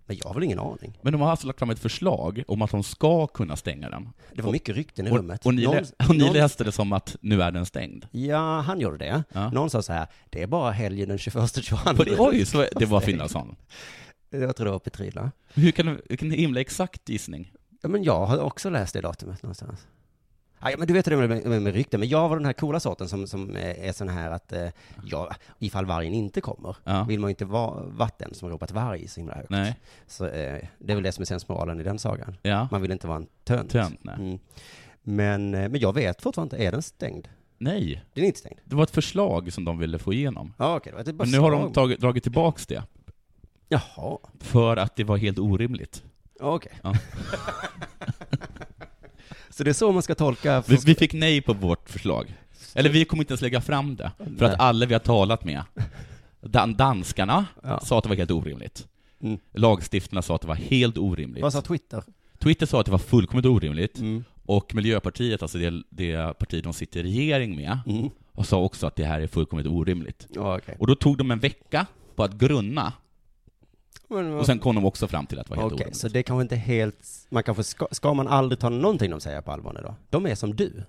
[SPEAKER 3] Men jag har väl ingen aning.
[SPEAKER 4] Men de har alltså lagt fram ett förslag om att de ska kunna stänga den.
[SPEAKER 3] Det var mycket rykten i
[SPEAKER 4] Och,
[SPEAKER 3] rummet.
[SPEAKER 4] och, ni,
[SPEAKER 3] Någon-
[SPEAKER 4] lä- och ni
[SPEAKER 3] någon-
[SPEAKER 4] läste det som att nu är den stängd.
[SPEAKER 3] Ja, han gjorde det.
[SPEAKER 4] Ja.
[SPEAKER 3] Någon sa så här, det är bara helgen den 21-22.
[SPEAKER 4] På det, oj, så det var Finlandsson.
[SPEAKER 3] Jag tror det var Petrilla.
[SPEAKER 4] Hur kan du, vilken himla exakt gissning?
[SPEAKER 3] Ja, men jag har också läst det datumet någonstans. Aj, men du vet hur det är med, med, med rykten, men jag var den här coola sorten som, som eh, är sån här att, eh, ja, ifall vargen inte kommer,
[SPEAKER 4] Ja.
[SPEAKER 3] vill man ju inte vara vatten som ropat varg så himla högt.
[SPEAKER 4] Nej.
[SPEAKER 3] Så eh, det är väl det som är sensmoralen i den sagan.
[SPEAKER 4] Ja.
[SPEAKER 3] Man vill inte vara en tönt.
[SPEAKER 4] Tönt, nej.
[SPEAKER 3] Mm. Men, eh, men jag vet fortfarande inte, är den stängd?
[SPEAKER 4] Nej.
[SPEAKER 3] Den är inte stängd?
[SPEAKER 4] Det var ett förslag som de ville få igenom.
[SPEAKER 3] Ja, okej, det var ett bara
[SPEAKER 4] Men nu har de
[SPEAKER 3] slag.
[SPEAKER 4] tagit, dragit tillbaks det.
[SPEAKER 3] Jaha,
[SPEAKER 4] För att det var helt orimligt.
[SPEAKER 3] okej.
[SPEAKER 4] Ja.
[SPEAKER 3] så det är så man ska tolka?
[SPEAKER 4] Vi, vi fick nej på vårt förslag. Eller vi kommer inte ens lägga fram det. För
[SPEAKER 3] Nej.
[SPEAKER 4] att alla vi har talat med, dan- danskarna,
[SPEAKER 3] Ja.
[SPEAKER 4] sa att det var helt orimligt.
[SPEAKER 3] Mm.
[SPEAKER 4] Lagstiftarna sa att det var helt orimligt.
[SPEAKER 3] Vad sa Twitter?
[SPEAKER 4] Twitter sa att det var fullkomligt orimligt.
[SPEAKER 3] Mm.
[SPEAKER 4] Och Miljöpartiet, alltså det, det parti de sitter i regering med,
[SPEAKER 3] Mm.
[SPEAKER 4] och sa också att det här är fullkomligt orimligt.
[SPEAKER 3] Ja, okej.
[SPEAKER 4] Och då tog de en vecka på att grunna,
[SPEAKER 3] Men vad-
[SPEAKER 4] och sen kom de också fram till att det var helt
[SPEAKER 3] Okej,
[SPEAKER 4] orimligt.
[SPEAKER 3] så det kanske inte är helt, man kanske ska, ska man aldrig ta någonting de säger på allvar nu då? De är som du.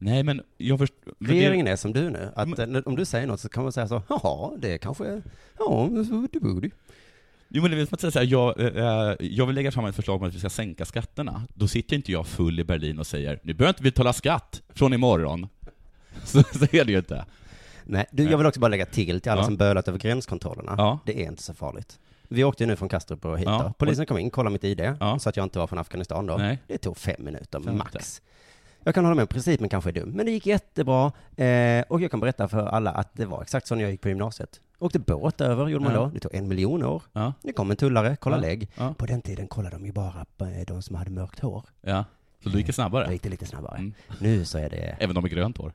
[SPEAKER 4] Nej men, jag förstår... men det-
[SPEAKER 3] Regeringen är som du nu. Att eh, om du säger något så kan man säga så, jaha, det kanske är, ja, du borde
[SPEAKER 4] Jo men det är som att säga så här, jag, eh, jag vill lägga fram ett förslag om att vi ska sänka skatterna. Då sitter inte jag full i Berlin och säger nu behöver inte vi betala skatt från imorgon. Så, så är det ju inte.
[SPEAKER 3] Nej, du, jag vill också bara lägga till till alla
[SPEAKER 4] Ja.
[SPEAKER 3] som bölat över gränskontrollerna.
[SPEAKER 4] Ja.
[SPEAKER 3] Det är inte så farligt. Vi åkte ju nu från Kastrup och hit
[SPEAKER 4] Ja.
[SPEAKER 3] då. Polisen kom in, kollade mitt ID,
[SPEAKER 4] Ja.
[SPEAKER 3] så att jag inte var från Afghanistan då.
[SPEAKER 4] Nej.
[SPEAKER 3] Det tog fem minuter
[SPEAKER 4] Fem
[SPEAKER 3] max. Jag kan hålla med, principen kanske är dum, men det gick jättebra. Eh, och jag kan berätta för alla att det var exakt så när jag gick på gymnasiet. Åkte båt över, gjorde man
[SPEAKER 4] Ja.
[SPEAKER 3] då. Det tog en miljon år.
[SPEAKER 4] Ja,
[SPEAKER 3] Det kom en tullare, kolla
[SPEAKER 4] Ja.
[SPEAKER 3] lägg.
[SPEAKER 4] Ja.
[SPEAKER 3] På den tiden kollade de ju bara på eh, de som hade mörkt hår.
[SPEAKER 4] ja. Så då gick det
[SPEAKER 3] Då
[SPEAKER 4] snabbare.
[SPEAKER 3] gick det lite snabbare.
[SPEAKER 4] Mm. Eh.
[SPEAKER 3] Nu så är det
[SPEAKER 4] Även de med grönt hår.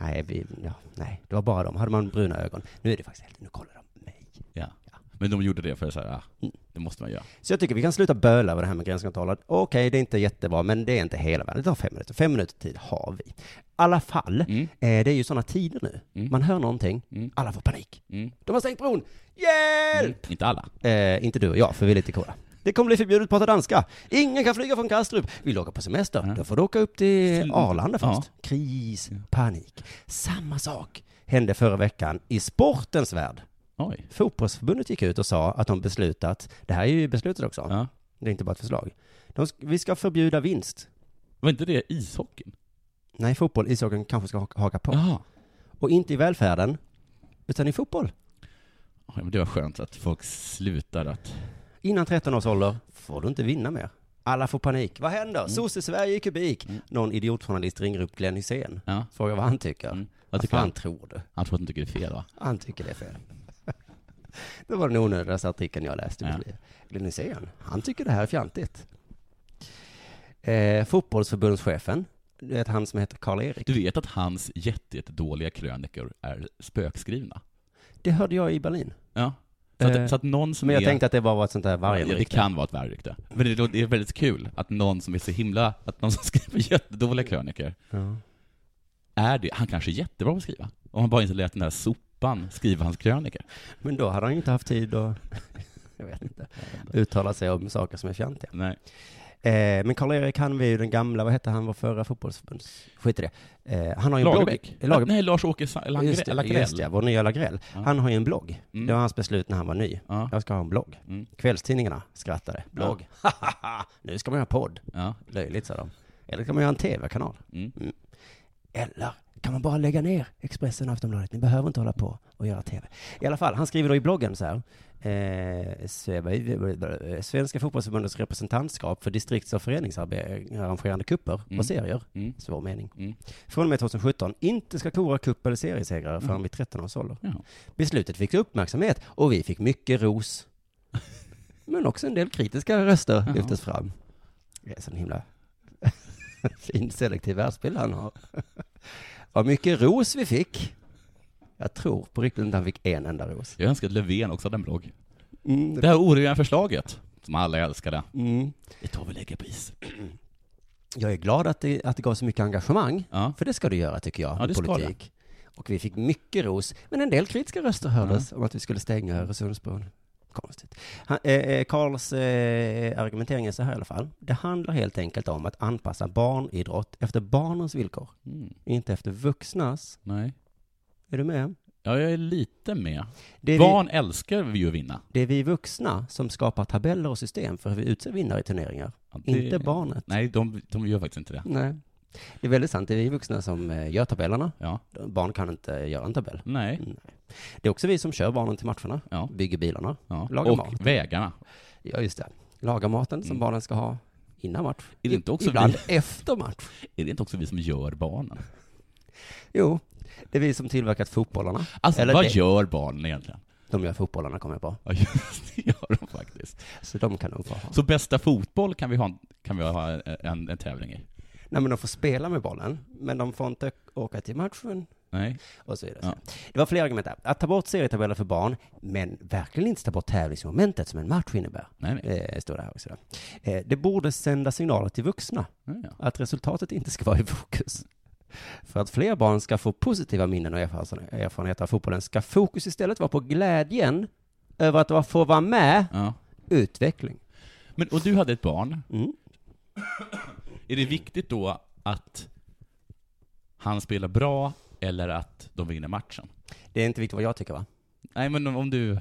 [SPEAKER 3] Nej, vi, ja, nej, det var bara dem. Hade man bruna ögon. Nu är det faktiskt helt, nu kollar de mig.
[SPEAKER 4] Ja. Men de gjorde det för så här, ah,
[SPEAKER 3] Mm.
[SPEAKER 4] det måste man göra.
[SPEAKER 3] Så jag tycker vi kan sluta böla över det här med gränskontroller. Okej, det är inte jättebra, men det är inte hela världen. Det tar fem minuter. Fem minuter tid har vi. I alla fall,
[SPEAKER 4] Mm.
[SPEAKER 3] eh, det är ju sådana tider nu.
[SPEAKER 4] Mm.
[SPEAKER 3] Man hör någonting,
[SPEAKER 4] Mm.
[SPEAKER 3] alla får panik.
[SPEAKER 4] Mm.
[SPEAKER 3] De har stängt bron! Hjälp!
[SPEAKER 4] Mm. Inte alla.
[SPEAKER 3] Eh, inte du och jag, för vi är lite coola. Det kommer bli förbjudet att prata danska. Ingen kan flyga från Kastrup. Vill du åka på semester?
[SPEAKER 4] Ja.
[SPEAKER 3] Då får du åka upp till
[SPEAKER 4] Slut.
[SPEAKER 3] Arlanda
[SPEAKER 4] Ja.
[SPEAKER 3] först. Kris, panik. Samma sak hände förra veckan i sportens värld.
[SPEAKER 4] Oj.
[SPEAKER 3] Fotbollsförbundet gick ut och sa att de beslutat, det här är ju beslutet också,
[SPEAKER 4] Ja.
[SPEAKER 3] det är inte bara ett förslag. De, sk- vi ska förbjuda vinst.
[SPEAKER 4] Var inte det ishockeyn?
[SPEAKER 3] Nej, fotboll, ishockeyn kanske ska ha- haka på.
[SPEAKER 4] Jaha.
[SPEAKER 3] Och inte i välfärden, utan i fotboll.
[SPEAKER 4] Oj, men det var skönt att folk slutar att...
[SPEAKER 3] Innan 13 års ålder får du inte vinna mer. Alla får panik. Vad händer?
[SPEAKER 4] Mm.
[SPEAKER 3] Sosse-Sverige i kubik. Någon idiotjournalist ringer upp Glenn Hysén.
[SPEAKER 4] Ja.
[SPEAKER 3] Frågar vad han tycker.
[SPEAKER 4] Mm. Vad
[SPEAKER 3] Vad
[SPEAKER 4] tycker
[SPEAKER 3] fan
[SPEAKER 4] han?
[SPEAKER 3] tror du?
[SPEAKER 4] Han tror att de tycker det är fel va?
[SPEAKER 3] Han tycker det är fel. det var den onödigaste artikeln jag läste. i mitt
[SPEAKER 4] Ja.
[SPEAKER 3] liv. Glenn Hysén, han tycker det här är fjantigt. Eh, fotbollsförbundschefen, du vet han som heter Karl-Erik.
[SPEAKER 4] Du vet att hans jätte- jättedåliga krönikor är spökskrivna?
[SPEAKER 3] Det hörde jag i Berlin.
[SPEAKER 4] Ja. Så att,
[SPEAKER 3] Eh,
[SPEAKER 4] så att någon som
[SPEAKER 3] Men jag
[SPEAKER 4] är...
[SPEAKER 3] tänkte att det bara var ett sånt där
[SPEAKER 4] ja, det
[SPEAKER 3] vargenrykte.
[SPEAKER 4] kan vara ett vargrykte. Men det, låter- det är väldigt kul att någon som är så himla... Att någon som skriver jättedåliga krönikor
[SPEAKER 3] Ja.
[SPEAKER 4] är det. Han kanske är jättebra på att skriva. Om han bara inte lät den där sopan skriva hans krönikor.
[SPEAKER 3] Men då hade han ju inte haft tid att, jag vet inte, uttala sig om saker som är fjantiga.
[SPEAKER 4] Nej.
[SPEAKER 3] Eh, men Karl-Erik, han var ju den gamla, vad hette han, vår förra fotbollsförbunds... Skit i det. Eh, han har ju en
[SPEAKER 4] Lagerbäck?
[SPEAKER 3] blogg. Lagerbäck.
[SPEAKER 4] Nej, Lars-Åke Sa-
[SPEAKER 3] Just
[SPEAKER 4] Langre-
[SPEAKER 3] det, just
[SPEAKER 4] Lagrell.
[SPEAKER 3] det, vår nya Lagrell.
[SPEAKER 4] Ja.
[SPEAKER 3] Han har ju en blogg.
[SPEAKER 4] Mm.
[SPEAKER 3] Det var hans beslut när han var ny.
[SPEAKER 4] Ja.
[SPEAKER 3] Jag ska ha en blogg.
[SPEAKER 4] Mm.
[SPEAKER 3] Kvällstidningarna skrattade. Blogg. nu ska man göra podd.
[SPEAKER 4] Ja.
[SPEAKER 3] Löjligt, sa de. Eller kan man göra en tv-kanal.
[SPEAKER 4] Mm.
[SPEAKER 3] Eller kan man bara lägga ner Expressen och Aftonbladet? Ni behöver inte hålla på och göra TV. I alla fall, han skriver då i bloggen så här. Eh, Sve- Svenska fotbollsförbundets representantskap för distrikts och föreningsarrangerande kupper
[SPEAKER 4] Mm.
[SPEAKER 3] och serier.
[SPEAKER 4] Mm.
[SPEAKER 3] Svår mening.
[SPEAKER 4] Mm.
[SPEAKER 3] Från och med 2017 inte ska kora cup eller seriesegrare förrän vid 13 års ålder.
[SPEAKER 4] Ja.
[SPEAKER 3] Beslutet fick uppmärksamhet och vi fick mycket ros. Men också en del kritiska röster
[SPEAKER 4] Jaha.
[SPEAKER 3] lyftes fram. Det är sån himla fin selektiv världsbild han har. Vad mycket ros vi fick. Jag tror på riktigt inte han fick en enda ros.
[SPEAKER 4] Jag önskar att Löfven också hade en blogg.
[SPEAKER 3] Mm,
[SPEAKER 4] Det
[SPEAKER 3] det-
[SPEAKER 4] här orimliga förslaget, som alla älskade.
[SPEAKER 3] mm.
[SPEAKER 4] Det tar vi och lägger på is.
[SPEAKER 3] Jag är glad att det, att det gav så mycket engagemang.
[SPEAKER 4] Ja.
[SPEAKER 3] För det ska du göra tycker jag,
[SPEAKER 4] Ja, det
[SPEAKER 3] i
[SPEAKER 4] ska
[SPEAKER 3] politik. Och vi fick mycket ros, men en del kritiska röster hördes om att vi skulle stänga Öresundsbron. konstigt. Han, eh, eh, Karls eh, argumentering är så här i alla fall. Det handlar helt enkelt om att anpassa barnidrott efter barnens villkor,
[SPEAKER 4] Mm.
[SPEAKER 3] inte efter vuxnas.
[SPEAKER 4] Nej.
[SPEAKER 3] Är du med?
[SPEAKER 4] Ja, jag är lite med.
[SPEAKER 3] Det är, vi,
[SPEAKER 4] Barn älskar ju att vinna.
[SPEAKER 3] det är vi vuxna som skapar tabeller och system för hur vi utser vinnare i turneringar,
[SPEAKER 4] Ja, det-
[SPEAKER 3] inte barnet.
[SPEAKER 4] Nej, de, de gör faktiskt inte det.
[SPEAKER 3] Nej. Det är väldigt sant. Det är vi vuxna som eh, gör tabellerna.
[SPEAKER 4] Ja.
[SPEAKER 3] Barn kan inte göra en tabell.
[SPEAKER 4] Nej.
[SPEAKER 3] Det är också vi som kör barnen till matcherna,
[SPEAKER 4] Ja.
[SPEAKER 3] bygger bilarna,
[SPEAKER 4] Ja.
[SPEAKER 3] lagar
[SPEAKER 4] Och
[SPEAKER 3] mat.
[SPEAKER 4] vägarna.
[SPEAKER 3] Ja, just det. Lagar maten som
[SPEAKER 4] Mm.
[SPEAKER 3] barnen ska ha innan match.
[SPEAKER 4] Är det inte också
[SPEAKER 3] Ibland efter match.
[SPEAKER 4] Är det inte också vi som gör barnen?
[SPEAKER 3] Jo, det är vi som tillverkat fotbollarna.
[SPEAKER 4] Alltså,
[SPEAKER 3] Eller
[SPEAKER 4] vad
[SPEAKER 3] det-
[SPEAKER 4] gör barnen egentligen?
[SPEAKER 3] De gör fotbollarna, kommer jag på.
[SPEAKER 4] Ja, just det gör de faktiskt.
[SPEAKER 3] Så de kan de få ha.
[SPEAKER 4] Så bästa fotboll kan vi ha, en- kan vi ha en, en, en tävling i?
[SPEAKER 3] Nej, men de får spela med bollen, men de får inte åka till matchen.
[SPEAKER 4] Nej.
[SPEAKER 3] Och så vidare.
[SPEAKER 4] Ja.
[SPEAKER 3] Det var fler argument där. Att ta bort serietabeller för barn, men verkligen inte ta bort tävlingsmomentet som en match innebär.
[SPEAKER 4] Nej, nej.
[SPEAKER 3] Eh, står det här också. Eh, det borde sända signaler till vuxna
[SPEAKER 4] Ja, ja.
[SPEAKER 3] att resultatet inte ska vara i fokus. För att fler barn ska få positiva minnen och erfarenheter erfarenheter av fotbollen ska fokus istället vara på glädjen över att få vara med,
[SPEAKER 4] Ja.
[SPEAKER 3] utveckling.
[SPEAKER 4] Men, och du hade ett barn.
[SPEAKER 3] Mm.
[SPEAKER 4] Är det viktigt då att han spelar bra eller att de vinner matchen?
[SPEAKER 3] Det är inte viktigt vad jag tycker va?
[SPEAKER 4] Nej, men om, om du...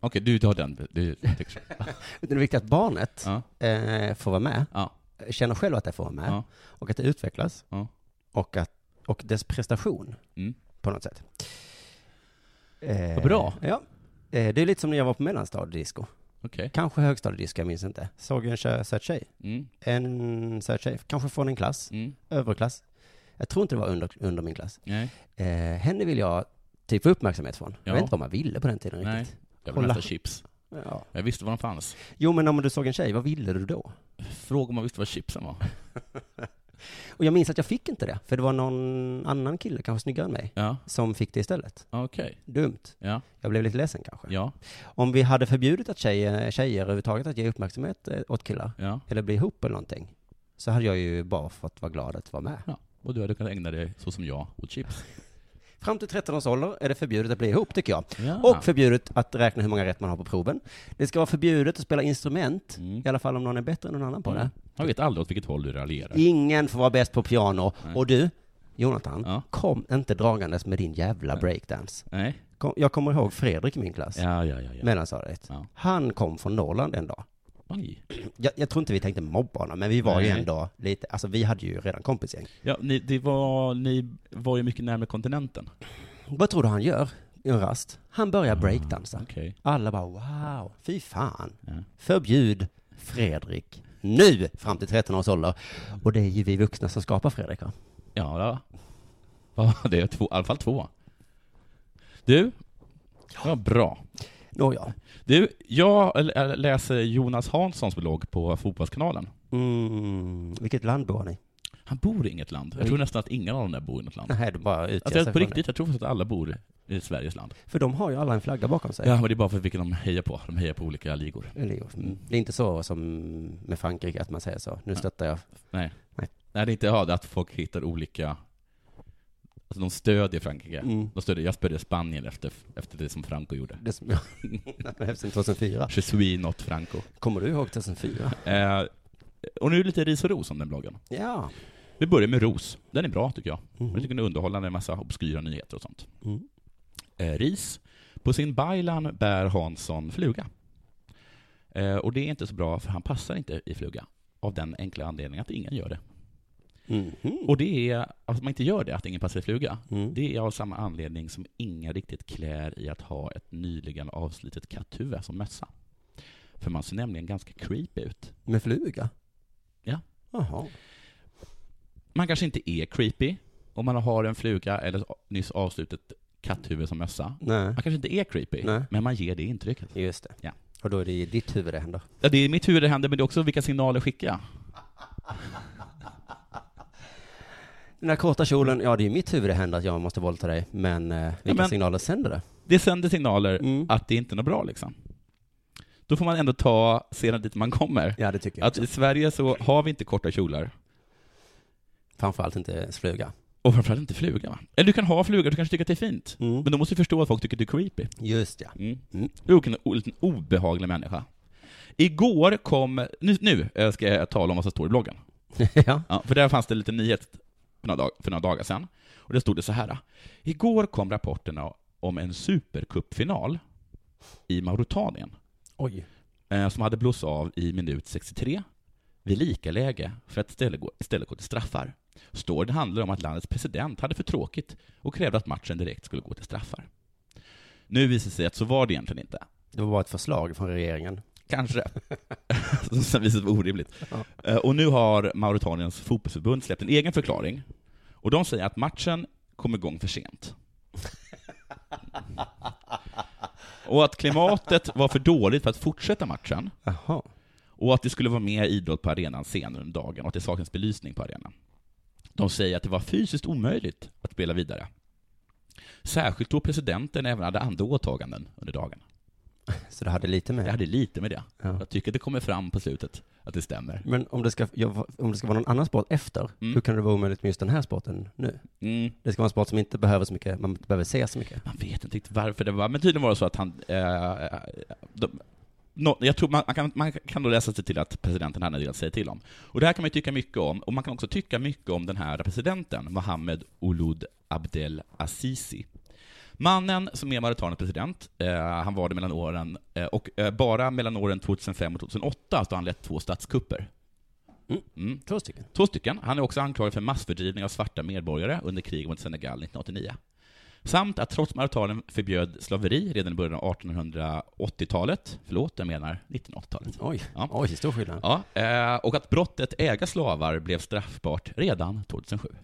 [SPEAKER 4] Okej, du tar den. Du, tycker så.
[SPEAKER 3] Utan det är viktigt att barnet
[SPEAKER 4] ja,
[SPEAKER 3] eh, får vara med,
[SPEAKER 4] ja,
[SPEAKER 3] känner själv att det får vara med,
[SPEAKER 4] ja,
[SPEAKER 3] och att det utvecklas,
[SPEAKER 4] ja.
[SPEAKER 3] och, att, och dess prestation
[SPEAKER 4] Mm.
[SPEAKER 3] på något sätt. Eh,
[SPEAKER 4] Vad bra.
[SPEAKER 3] Ja. Eh, det är lite som när jag var på mellanstadiedisco.
[SPEAKER 4] Okej.
[SPEAKER 3] Kanske högstadiedisco, jag minns inte. Såg en tjö- söt tjej.
[SPEAKER 4] Mm,
[SPEAKER 3] En söt tjej, kanske från en klass,
[SPEAKER 4] mm,
[SPEAKER 3] överklass. Jag tror inte det var under, under min klass.
[SPEAKER 4] nej.
[SPEAKER 3] Eh, henne vill jag typ få uppmärksamhet från. Jag
[SPEAKER 4] Ja.
[SPEAKER 3] vet inte vad man ville på den tiden
[SPEAKER 4] Nej.
[SPEAKER 3] riktigt.
[SPEAKER 4] Jag vill
[SPEAKER 3] Kolla.
[SPEAKER 4] nästa chips.
[SPEAKER 3] Ja.
[SPEAKER 4] Jag visste var de fanns.
[SPEAKER 3] Jo, men om du såg en tjej, vad ville du då?
[SPEAKER 4] Fråga om man visste vad chipsen var.
[SPEAKER 3] Och jag minns att jag fick inte det, för det var någon annan kille, kanske snyggare än mig,
[SPEAKER 4] Ja,
[SPEAKER 3] som fick det istället.
[SPEAKER 4] okej.
[SPEAKER 3] Dumt.
[SPEAKER 4] Ja,
[SPEAKER 3] Jag blev lite ledsen kanske.
[SPEAKER 4] ja,
[SPEAKER 3] Om vi hade förbjudit att tjejer, tjejer överhuvudtaget att ge uppmärksamhet eh, åt killar,
[SPEAKER 4] ja.
[SPEAKER 3] eller bli ihop eller någonting, så hade jag ju bara fått vara glad att vara med.
[SPEAKER 4] ja. Och du hade kunnat ägna dig, så som jag, åt chips.
[SPEAKER 3] Fram till 13 års ålder är det förbjudet att bli ihop, tycker jag.
[SPEAKER 4] Ja.
[SPEAKER 3] Och förbjudet att räkna hur många rätt man har på proven. Det ska vara förbjudet att spela instrument,
[SPEAKER 4] Mm.
[SPEAKER 3] i alla fall om någon är bättre än någon annan på det.
[SPEAKER 4] Jag vet aldrig åt vilket håll du raljerar.
[SPEAKER 3] Ingen får vara bäst på piano.
[SPEAKER 4] Nej.
[SPEAKER 3] Och du, Jonathan,
[SPEAKER 4] Ja.
[SPEAKER 3] kom inte dragandes med din jävla breakdance.
[SPEAKER 4] Nej.
[SPEAKER 3] Kom, jag kommer ihåg Fredrik i min klass,
[SPEAKER 4] Ja, ja, ja. ja.
[SPEAKER 3] mellanstadiet.
[SPEAKER 4] Ja.
[SPEAKER 3] Han kom från Norrland en dag.
[SPEAKER 4] Oj.
[SPEAKER 3] Jag, jag tror inte vi tänkte mobba honom, men vi var ju
[SPEAKER 4] Nej.
[SPEAKER 3] ändå lite, alltså vi hade ju redan kompisgäng.
[SPEAKER 4] Ja, ni, det var, ni var ju mycket närmare kontinenten.
[SPEAKER 3] Vad tror du han gör i en rast? Han
[SPEAKER 4] Ah.
[SPEAKER 3] börjar breakdansa.
[SPEAKER 4] Okej.
[SPEAKER 3] Alla bara wow, fy fan.
[SPEAKER 4] Ja.
[SPEAKER 3] Förbjud Fredrik nu, fram till 13 års ålder. Och det är ju vi vuxna som skapar Fredrik va?
[SPEAKER 4] Ja, ja. ja det är två, i alla fall två. Du, ja, bra.
[SPEAKER 3] Nåja.
[SPEAKER 4] Du, jag l- l- läser Jonas Hanssons blogg på Fotbollskanalen.
[SPEAKER 3] Mm, vilket land bor ni?
[SPEAKER 4] Han bor i inget land. Jag tror nästan att ingen av dem där bor i något land.
[SPEAKER 3] Nej, du bara utger
[SPEAKER 4] Alltså,
[SPEAKER 3] sig
[SPEAKER 4] jag, på
[SPEAKER 3] från
[SPEAKER 4] riktigt, jag tror faktiskt att alla bor i Sveriges land.
[SPEAKER 3] det. För de har ju alla en flagga bakom sig.
[SPEAKER 4] Ja, men det är bara för vilken de hejar på. De hejar på olika ligor.
[SPEAKER 3] Eller, jo,
[SPEAKER 4] Mm.
[SPEAKER 3] Det är inte så som med Frankrike, att man säger så. Nu stöttar jag.
[SPEAKER 4] Nej.
[SPEAKER 3] Nej.
[SPEAKER 4] Nej, det är inte ja, det är att folk hittar olika... Alltså, de stödjer Frankrike.
[SPEAKER 3] Mm.
[SPEAKER 4] De stödjer, jag stödjer Spanien efter, efter det som Franco gjorde.
[SPEAKER 3] Det som jag... Eftersom 2004.
[SPEAKER 4] Je suis not Franco.
[SPEAKER 3] Kommer du ihåg 2004?
[SPEAKER 4] Eh, och nu lite ris och ros om den bloggen.
[SPEAKER 3] Ja.
[SPEAKER 4] Vi börjar med ros. Den är bra tycker jag.
[SPEAKER 3] Mhm.
[SPEAKER 4] Jag tycker den är underhållande, en massa obskyra nyheter och sånt.
[SPEAKER 3] Mm.
[SPEAKER 4] Eh, ris. På sin byline bär Hansson fluga. Eh, och det är inte så bra för han passar inte i fluga. Av den enkla anledningen att ingen gör det.
[SPEAKER 3] Mhm.
[SPEAKER 4] Och det är, att man inte gör det, att ingen passar i fluga,
[SPEAKER 3] Mm.
[SPEAKER 4] det är av samma anledning som ingen riktigt klär i att ha ett nyligen avslitet katthuvud som mössa. För man ser nämligen ganska creepy ut.
[SPEAKER 3] Med fluga?
[SPEAKER 4] Ja.
[SPEAKER 3] Jaha.
[SPEAKER 4] man kanske inte är creepy om man har en fluga eller nyss avslutet katthuvud som mössa.
[SPEAKER 3] Nej.
[SPEAKER 4] Man kanske inte är creepy,
[SPEAKER 3] Nej.
[SPEAKER 4] men man ger det intrycket.
[SPEAKER 3] Just det.
[SPEAKER 4] Ja.
[SPEAKER 3] Och då är det i ditt huvud det händer.
[SPEAKER 4] Ja, det är i mitt huvud det händer, men det är också vilka signaler skickar jag?
[SPEAKER 3] Den här korta kjolen, ja det är i mitt huvud det händer att jag måste våldta dig, men eh, vilka
[SPEAKER 4] men-
[SPEAKER 3] signaler sänder det?
[SPEAKER 4] Det sänder signaler
[SPEAKER 3] Mm.
[SPEAKER 4] att det inte är något bra liksom. Då får man ändå ta sedan dit man kommer.
[SPEAKER 3] Ja det tycker
[SPEAKER 4] Att i Sverige så har vi inte korta kjolar.
[SPEAKER 3] Framförallt inte fluga.
[SPEAKER 4] Och framförallt inte fluga va? Eller du kan ha fluga, du kanske tycker att det är fint.
[SPEAKER 3] Mm.
[SPEAKER 4] Men då måste du förstå att folk tycker att du är creepy.
[SPEAKER 3] Just ja.
[SPEAKER 4] Mm.
[SPEAKER 3] Mm.
[SPEAKER 4] Vilken o- liten obehaglig människa. Igår kom, nu, nu eh, ska jag tala om vad som står i bloggen.
[SPEAKER 3] ja.
[SPEAKER 4] Ja, för där fanns det lite nyhet för några, dag, för några dagar sedan. Och det stod det så här. Igår kom rapporterna om en supercupfinal i Mauritanien
[SPEAKER 3] Oj.
[SPEAKER 4] eh, som hade blåst av i minut 63 vid lika läge för att istället gå, istället gå till straffar. Storyn handlar om att landets president hade för tråkigt och krävde att matchen direkt skulle gå till straffar. Nu visar det sig att så var det egentligen inte.
[SPEAKER 3] Det var bara ett förslag från regeringen.
[SPEAKER 4] Kanske. Som sen visade sig vara orimligt. Eh, Och nu har Mauritaniens fotbollsförbund släppt en egen förklaring. Och de säger att matchen kom igång för sent. Och att klimatet var för dåligt för att fortsätta matchen.
[SPEAKER 3] Jaha.
[SPEAKER 4] Och att det skulle vara mer idrott på arenan senare under dagen och att det saknas belysning på arenan. De säger att det var fysiskt omöjligt att spela vidare. Särskilt då presidenten även hade andra åtaganden under dagen.
[SPEAKER 3] Så det hade lite med.
[SPEAKER 4] Jag hade lite med det.
[SPEAKER 3] Ja.
[SPEAKER 4] Jag tycker att det kommer fram på slutet att det stämmer.
[SPEAKER 3] Men om det, ska, ja, om det ska vara någon annan sport efter,
[SPEAKER 4] Mm.
[SPEAKER 3] hur kan det vara omöjligt med just den här sporten nu?
[SPEAKER 4] Mm.
[SPEAKER 3] Det ska vara en sport som inte behöver så mycket, man inte behöver se så mycket.
[SPEAKER 4] Man vet inte riktigt varför det var, men tydligen var det så att han... Eh, de, nå- jag tror man, man, kan, man kan då läsa sig till att presidenten hade en del att säga till om. Och det här kan man ju tycka mycket om, och man kan också tycka mycket om den här presidenten, Mohammed Ould Abdel Azizi. Mannen som är Mauretaniens president, eh, han var det mellan åren, eh, och eh, bara mellan åren 2005 och 2008 så har han lett två statskupper.
[SPEAKER 3] Mm.
[SPEAKER 4] Mm.
[SPEAKER 3] Två stycken.
[SPEAKER 4] Två stycken. Han är också anklagad för massfördrivning av svarta medborgare under kriget mot Senegal 1989. Samt att trots Mauritanen förbjöd slaveri redan i början av 1880-talet, förlåt, jag menar 1980-talet.
[SPEAKER 3] Oj,
[SPEAKER 4] Ja.
[SPEAKER 3] oj, stor skillnad.
[SPEAKER 4] Ja, eh, och att brottet äga slavar blev straffbart redan 2007.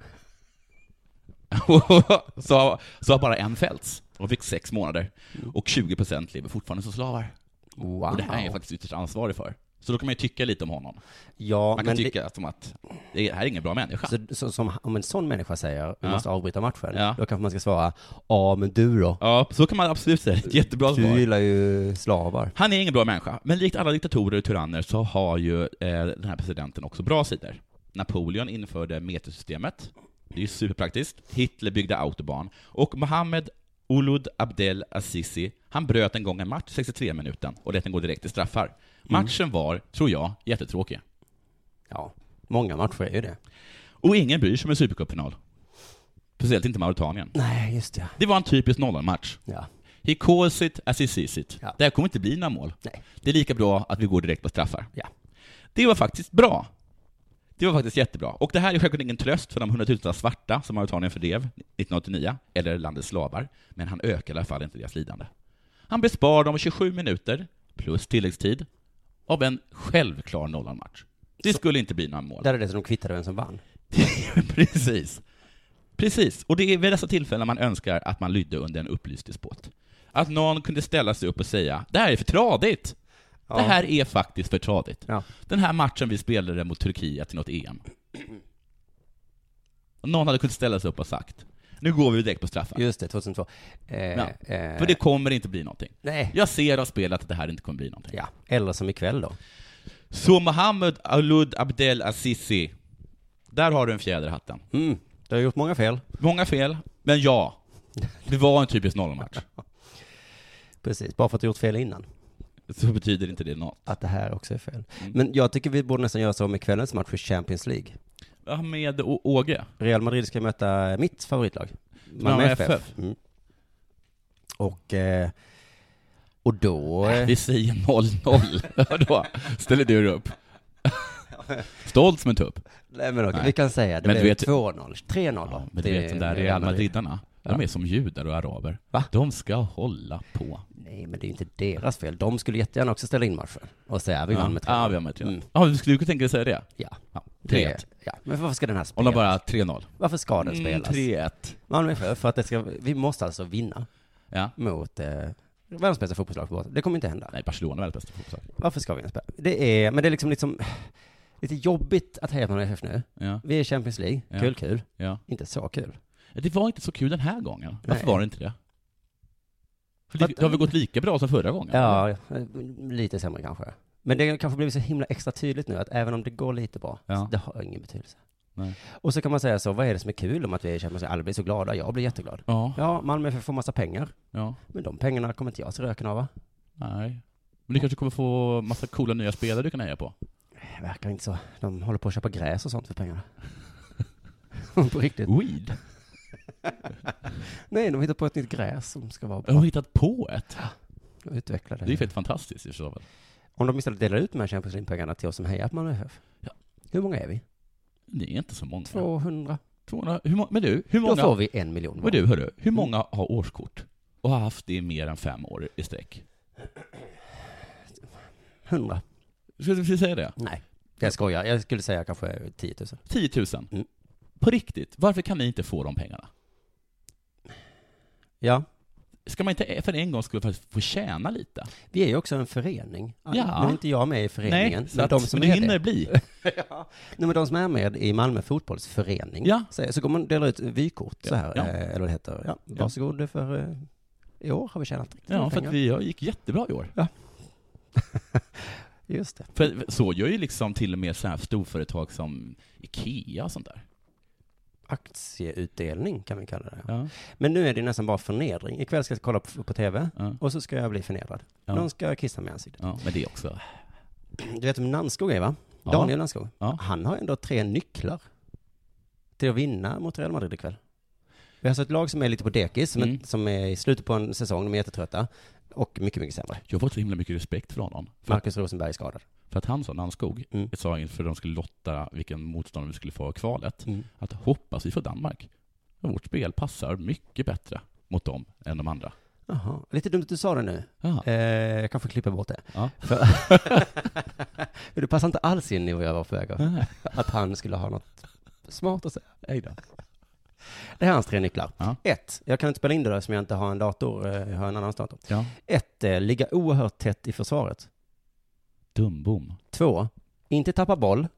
[SPEAKER 4] så, så har bara en fällts och fick sex månader. Och 20% lever fortfarande som slavar.
[SPEAKER 3] Wow.
[SPEAKER 4] Och det här är jag faktiskt ytterst ansvarig för. Så då kan man ju tycka lite om honom.
[SPEAKER 3] ja,
[SPEAKER 4] Man kan
[SPEAKER 3] men det-
[SPEAKER 4] tycka som att det här är ingen bra människa.
[SPEAKER 3] Så, så, som, om en sån människa säger, vi
[SPEAKER 4] Ja.
[SPEAKER 3] måste avbryta matchen,
[SPEAKER 4] Ja.
[SPEAKER 3] då kanske man ska svara, ja men du då?
[SPEAKER 4] Ja, så kan man absolut säga. Ett jättebra
[SPEAKER 3] Du
[SPEAKER 4] svar.
[SPEAKER 3] gillar ju slavar.
[SPEAKER 4] Han är ingen bra människa, men likt alla diktatorer och tyranner så har ju eh, den här presidenten också bra sidor. Napoleon införde metersystemet, det är ju superpraktiskt. Hitler byggde autobahn. Och Mohammed Ould Abdel Azizi, han bröt en gång en match, 63 minuten, och lät den gå direkt till straffar. Matchen var, tror jag, jättetråkig.
[SPEAKER 3] Ja, många matcher är ju det.
[SPEAKER 4] Och ingen bryr sig om en supercupfinal. Speciellt inte Mauritanien.
[SPEAKER 3] Nej, just det.
[SPEAKER 4] Det var en typisk nollanmatch.
[SPEAKER 3] Ja.
[SPEAKER 4] He calls it as he sees it.
[SPEAKER 3] Ja.
[SPEAKER 4] Det här kommer inte bli några mål.
[SPEAKER 3] Nej.
[SPEAKER 4] Det är lika bra att vi går direkt på straffar.
[SPEAKER 3] Ja.
[SPEAKER 4] Det var faktiskt bra. Det var faktiskt jättebra. Och det här är självklart ingen tröst för de hundratusentals svarta som Mauritanien fördrev 1989, eller landets slavar, men han ökar i alla fall inte deras lidande. Han bespar dem 27 minuter, plus tilläggstid, av en självklar nollanmatch. Det skulle inte bli några mål.
[SPEAKER 3] Där är det som de kvittade vem som vann.
[SPEAKER 4] Precis. Precis. Och det är vid dessa tillfällen man önskar att man lydde under en upplyst despot. Att någon kunde ställa sig upp och säga ”Det här är för tradigt!” Det här är faktiskt för tradigt.
[SPEAKER 3] Ja.
[SPEAKER 4] Den här matchen vi spelade mot Turkiet i något EM. Och Någon hade kunnat ställa sig upp och sagt ”Nu går vi direkt på straffar”.
[SPEAKER 3] Just det, 2002. Eh,
[SPEAKER 4] Ja.
[SPEAKER 3] eh,
[SPEAKER 4] För det kommer inte bli någonting.
[SPEAKER 3] Nej.
[SPEAKER 4] Jag ser av spelet att det här inte kommer bli någonting.
[SPEAKER 3] Ja, eller som ikväll då.
[SPEAKER 4] Så Mohammed Alud Abdel Azizi, där har du en fjäder i hatten.
[SPEAKER 3] Mm, du har gjort många fel.
[SPEAKER 4] Många fel, men ja. Det var en typisk nollmatch.
[SPEAKER 3] Precis, bara för att du gjort fel innan.
[SPEAKER 4] Så betyder inte det något.
[SPEAKER 3] Att det här också är fel.
[SPEAKER 4] Mm.
[SPEAKER 3] Men jag tycker vi borde nästan göra så med kvällens match i Champions League.
[SPEAKER 4] Ja, med Å- Åge.
[SPEAKER 3] Real Madrid ska möta mitt favoritlag, Malmö
[SPEAKER 4] Malmö
[SPEAKER 3] FF.
[SPEAKER 4] FF.
[SPEAKER 3] Mm. Och, eh, och då... eh,
[SPEAKER 4] Vi säger 0-0. Ja, då ställer du dig upp. Stolt som en tupp.
[SPEAKER 3] Nej men okej,
[SPEAKER 4] Nej.
[SPEAKER 3] vi kan säga det
[SPEAKER 4] Men
[SPEAKER 3] men
[SPEAKER 4] du
[SPEAKER 3] blev
[SPEAKER 4] vet-
[SPEAKER 3] 2-0, 3-0 då.
[SPEAKER 4] Ja, men du vet de där
[SPEAKER 3] det-
[SPEAKER 4] Real Madridarna, de är som judar och araber.
[SPEAKER 3] Va?
[SPEAKER 4] De ska hålla på.
[SPEAKER 3] Nej men det är ju inte deras fel, de skulle jättegärna också ställa in matchen och säga vi vann med 3-0.
[SPEAKER 4] Ja, vi vann med 3-0.
[SPEAKER 3] Mm.
[SPEAKER 4] Ja, du skulle kunna tänka dig säga det?
[SPEAKER 3] Ja.
[SPEAKER 4] Ja, 3-1.
[SPEAKER 3] Det, ja. Men varför ska den här
[SPEAKER 4] Om
[SPEAKER 3] spelas?
[SPEAKER 4] de bara 3-0.
[SPEAKER 3] Varför ska den
[SPEAKER 4] Mm,
[SPEAKER 3] spelas?
[SPEAKER 4] 3-1.
[SPEAKER 3] Malmö FF, för att det ska, vi måste alltså vinna
[SPEAKER 4] Ja.
[SPEAKER 3] mot eh, världens bästa fotbollslag på borta. Det kommer inte hända.
[SPEAKER 4] Nej, Barcelona är väl bästa fotboll.
[SPEAKER 3] Varför ska vi ens spela? Det är, men det är liksom, liksom lite jobbigt att heja på Malmö FF nu.
[SPEAKER 4] Ja,
[SPEAKER 3] Vi är i Champions League,
[SPEAKER 4] Ja.
[SPEAKER 3] kul kul.
[SPEAKER 4] ja.
[SPEAKER 3] Inte så kul.
[SPEAKER 4] Det var inte så kul den här gången. Varför
[SPEAKER 3] Nej.
[SPEAKER 4] var det inte det? För det, det har väl gått lika bra som förra gången?
[SPEAKER 3] Ja, eh, lite sämre kanske. Men det har kanske blivit så himla extra tydligt nu att även om det går lite bra,
[SPEAKER 4] Ja.
[SPEAKER 3] så det har ingen betydelse.
[SPEAKER 4] Nej.
[SPEAKER 3] Och så kan man säga så, vad är det som är kul om att vi känner sig, alla blir så glada, jag blir jätteglad.
[SPEAKER 4] Ja,
[SPEAKER 3] Ja, Malmö FF får massa pengar,
[SPEAKER 4] ja,
[SPEAKER 3] men de pengarna kommer inte jag se röken av va?
[SPEAKER 4] nej. Men du kanske kommer få massa coola nya spelare du kan heja på?
[SPEAKER 3] Det verkar inte så. De håller på att köpa gräs och sånt för pengarna. på riktigt.
[SPEAKER 4] Weed?
[SPEAKER 3] Nej, de hittar på ett nytt gräs som ska vara
[SPEAKER 4] Jag har hittat på ett.
[SPEAKER 3] utvecklade.
[SPEAKER 4] Det är ju helt fantastiskt i så fall.
[SPEAKER 3] Om de istället delar ut de här Champions League-pengarna till oss som hejar på Malmö FF.
[SPEAKER 4] Ja.
[SPEAKER 3] Hur många är vi?
[SPEAKER 4] Det är inte så många.
[SPEAKER 3] 200.
[SPEAKER 4] 200. Hur må- men du, hur
[SPEAKER 3] Då får
[SPEAKER 4] många,
[SPEAKER 3] vi en miljon var.
[SPEAKER 4] men du, hörru,
[SPEAKER 3] Mm.
[SPEAKER 4] hur många har årskort? Och har haft det i mer än fem år i sträck?
[SPEAKER 3] 100.
[SPEAKER 4] Ska vi säga det?
[SPEAKER 3] Nej, jag skojar. Jag skulle säga kanske 10 000.
[SPEAKER 4] 10 000.
[SPEAKER 3] Mm.
[SPEAKER 4] På riktigt, varför kan ni inte få de pengarna?
[SPEAKER 3] Ja,
[SPEAKER 4] Ska man inte e- för en gång skulle faktiskt få tjäna lite?
[SPEAKER 3] vi är ju också en förening.
[SPEAKER 4] Ja.
[SPEAKER 3] Nu är inte jag med i föreningen,
[SPEAKER 4] så
[SPEAKER 3] men
[SPEAKER 4] att-
[SPEAKER 3] de som
[SPEAKER 4] men det
[SPEAKER 3] är
[SPEAKER 4] hinner
[SPEAKER 3] det.
[SPEAKER 4] bli.
[SPEAKER 3] Nej, men de som är med i Malmö fotbollsförening,
[SPEAKER 4] Ja.
[SPEAKER 3] så, så går man och delar ut vykort så här,
[SPEAKER 4] Ja.
[SPEAKER 3] eh, eller vad det heter. Ja,
[SPEAKER 4] Ja.
[SPEAKER 3] varsågod för eh, i år har vi tjänat riktigt
[SPEAKER 4] Ja,
[SPEAKER 3] mycket
[SPEAKER 4] för att
[SPEAKER 3] pengar.
[SPEAKER 4] vi har- gick jättebra i år.
[SPEAKER 3] Just det.
[SPEAKER 4] För så gör ju liksom till och med så här storföretag som Ikea och sånt där.
[SPEAKER 3] Aktieutdelning kan vi kalla det.
[SPEAKER 4] Ja.
[SPEAKER 3] Men nu är det nästan bara förnedring. Ikväll ska jag kolla på, på tv
[SPEAKER 4] Ja.
[SPEAKER 3] och så ska jag bli förnedrad.
[SPEAKER 4] Ja.
[SPEAKER 3] Någon ska kissa mig i ansiktet.
[SPEAKER 4] Ja, men det är också...
[SPEAKER 3] Du vet vem Nannskog är va?
[SPEAKER 4] Ja.
[SPEAKER 3] Daniel Nannskog.
[SPEAKER 4] Ja.
[SPEAKER 3] Han har ändå tre nycklar till att vinna mot Real Madrid ikväll. Vi har alltså ett lag som är lite på dekis, som,
[SPEAKER 4] Mm.
[SPEAKER 3] är, som är i slutet på en säsong, de är jättetrötta. Och mycket, mycket sämre.
[SPEAKER 4] Jag har fått så himla mycket respekt från honom. För,
[SPEAKER 3] Marcus Rosenberg är skadad.
[SPEAKER 4] för att han sa, Nannskog,
[SPEAKER 3] Mm.
[SPEAKER 4] sa inför de skulle lotta vilken motståndare vi skulle få i kvalet,
[SPEAKER 3] Mm.
[SPEAKER 4] att hoppas vi får Danmark. För Vårt spel passar mycket bättre mot dem än de andra.
[SPEAKER 3] Jaha, lite dumt att du sa det nu.
[SPEAKER 4] Ja.
[SPEAKER 3] Eh, jag kanske klipper bort det.
[SPEAKER 4] Ja.
[SPEAKER 3] För- Men det passar inte alls in i vad jag var på väg av.
[SPEAKER 4] Nej.
[SPEAKER 3] Att han skulle ha något smart att säga.
[SPEAKER 4] Nej då.
[SPEAKER 3] Det här är hans tre nycklar.
[SPEAKER 4] Ja.
[SPEAKER 3] Ett, jag kan inte spela in det där som jag inte har en dator, eh, jag har en annan dator.
[SPEAKER 4] Ja.
[SPEAKER 3] Ett, eh, ligga oerhört tätt i försvaret.
[SPEAKER 4] Dumbom.
[SPEAKER 3] Två, inte tappa boll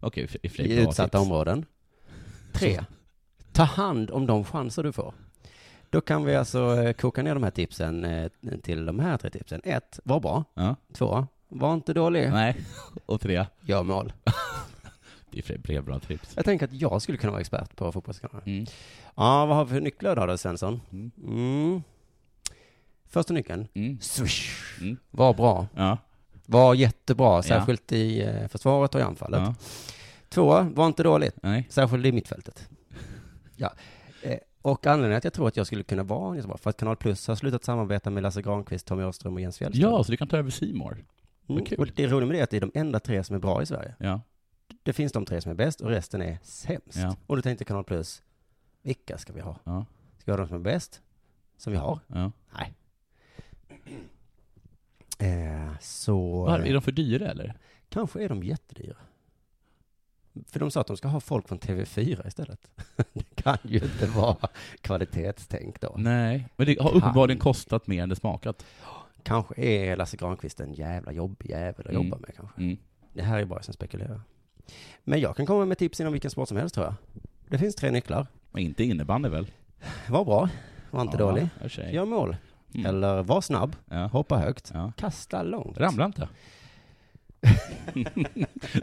[SPEAKER 4] Okej, i- i och för sig
[SPEAKER 3] i
[SPEAKER 4] bra
[SPEAKER 3] utsatta
[SPEAKER 4] tips.
[SPEAKER 3] områden. Tre, ta hand om de chanser du får. Då kan vi alltså eh, koka ner de här tipsen eh, till de här tre tipsen. Ett, var bra.
[SPEAKER 4] Ja.
[SPEAKER 3] Två, var inte dålig.
[SPEAKER 4] Nej. Och tre.
[SPEAKER 3] Gör mål.
[SPEAKER 4] Det är i och för sig bra tips.
[SPEAKER 3] Jag tänker att jag skulle kunna vara expert på fotbollskanalen.
[SPEAKER 4] Mm.
[SPEAKER 3] Ja, vad har vi för nycklar då, då Svensson?
[SPEAKER 4] Mm.
[SPEAKER 3] Mm. Första nyckeln,
[SPEAKER 4] Mm.
[SPEAKER 3] swish.
[SPEAKER 4] Mm.
[SPEAKER 3] Var bra.
[SPEAKER 4] Ja.
[SPEAKER 3] Var jättebra, särskilt i eh, försvaret och i anfallet.
[SPEAKER 4] ja.
[SPEAKER 3] Två, var inte dåligt,
[SPEAKER 4] Nej.
[SPEAKER 3] särskilt i mittfältet. Ja. Eh, Och anledningen att jag tror att jag skulle kunna vara en jättebra, för att Kanal Plus har slutat samarbeta med Lasse Granqvist, Tommy Åström och Jens Fjällström. Mm,
[SPEAKER 4] Ja, så du kan ta över Simor. vad kul.
[SPEAKER 3] Och det roliga med det är att det är de enda tre som är bra i Sverige.
[SPEAKER 4] Ja.
[SPEAKER 3] Det finns de tre som är bäst och resten är sämst.
[SPEAKER 4] Ja.
[SPEAKER 3] Och då tänkte Kanal Plus, vilka ska vi ha?
[SPEAKER 4] Ja.
[SPEAKER 3] Ska vi ha de som är bäst? Som vi har?
[SPEAKER 4] ja.
[SPEAKER 3] Nej. Eh, så...
[SPEAKER 4] Var, är de för dyra eller?
[SPEAKER 3] Kanske är de jättedyra. För de sa att de ska ha folk från TV4 istället. Det kan ju inte vara kvalitetstänk då.
[SPEAKER 4] Nej. Men det har uppenbarligen kostat mer än det smakat.
[SPEAKER 3] Kanske är Lasse Granqvist en jävla jobbig jävel att
[SPEAKER 4] Mm.
[SPEAKER 3] jobba med kanske.
[SPEAKER 4] Mm.
[SPEAKER 3] Det här är bara jag som spekulerar. Men jag kan komma med tips inom vilken sport som helst tror jag. Det finns tre nycklar.
[SPEAKER 4] Men inte innebandy väl?
[SPEAKER 3] Var bra, var inte
[SPEAKER 4] Ja,
[SPEAKER 3] dålig.
[SPEAKER 4] i och för sig.
[SPEAKER 3] Gör mål.
[SPEAKER 4] Mm.
[SPEAKER 3] Eller var snabb,
[SPEAKER 4] Ja.
[SPEAKER 3] hoppa högt,
[SPEAKER 4] Ja.
[SPEAKER 3] kasta långt.
[SPEAKER 4] Ramla inte.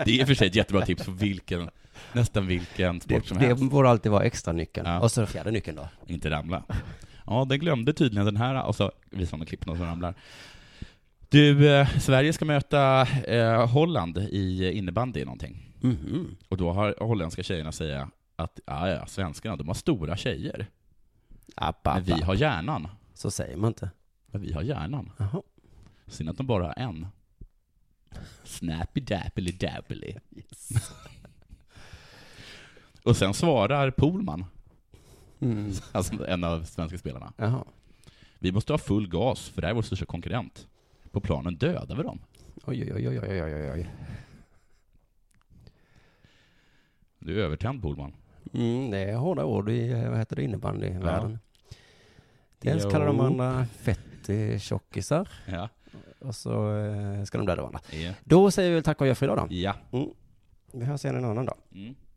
[SPEAKER 4] det är i och för sig ett jättebra tips på vilken, nästan vilken sport
[SPEAKER 3] Det,
[SPEAKER 4] som
[SPEAKER 3] det
[SPEAKER 4] helst.
[SPEAKER 3] borde alltid vara extra nyckeln.
[SPEAKER 4] Ja.
[SPEAKER 3] Och så fjärde nyckeln då.
[SPEAKER 4] Inte ramla. Ja, den glömde tydligen den här, alltså, och så visar man klippen och så ramlar. Du, eh, Sverige ska möta eh, Holland i innebandy någonting.
[SPEAKER 3] Mhm.
[SPEAKER 4] Och då har holländska tjejerna säga att ja, ja, svenskarna, de har stora tjejer.
[SPEAKER 3] App, app,
[SPEAKER 4] Men vi
[SPEAKER 3] app.
[SPEAKER 4] har hjärnan.
[SPEAKER 3] Så säger man inte.
[SPEAKER 4] Men vi har hjärnan.
[SPEAKER 3] Jaha.
[SPEAKER 4] Synd att de bara har en. Snappy dappily dappily. och sen svarar Polman,
[SPEAKER 3] Mm.
[SPEAKER 4] alltså en av svenska spelarna.
[SPEAKER 3] Jaha.
[SPEAKER 4] Vi måste ha full gas, för det här är vår största konkurrent. På planen dödar vi dem.
[SPEAKER 3] Oj, oj, oj, oj, oj, oj, oj, oj.
[SPEAKER 4] Du är övertänd, Polman.
[SPEAKER 3] Mm, det är hårda ord i, eh, vad heter det, innebandyvärlden. Dels
[SPEAKER 4] Jo.
[SPEAKER 3] kallar de varandra fett-tjockisar
[SPEAKER 4] Ja.
[SPEAKER 3] och så eh, ska de döda varandra.
[SPEAKER 4] Ja.
[SPEAKER 3] Då säger vi väl tack och gör för idag då.
[SPEAKER 4] ja.
[SPEAKER 3] Vi hörs igen en annan dag.
[SPEAKER 4] Mm.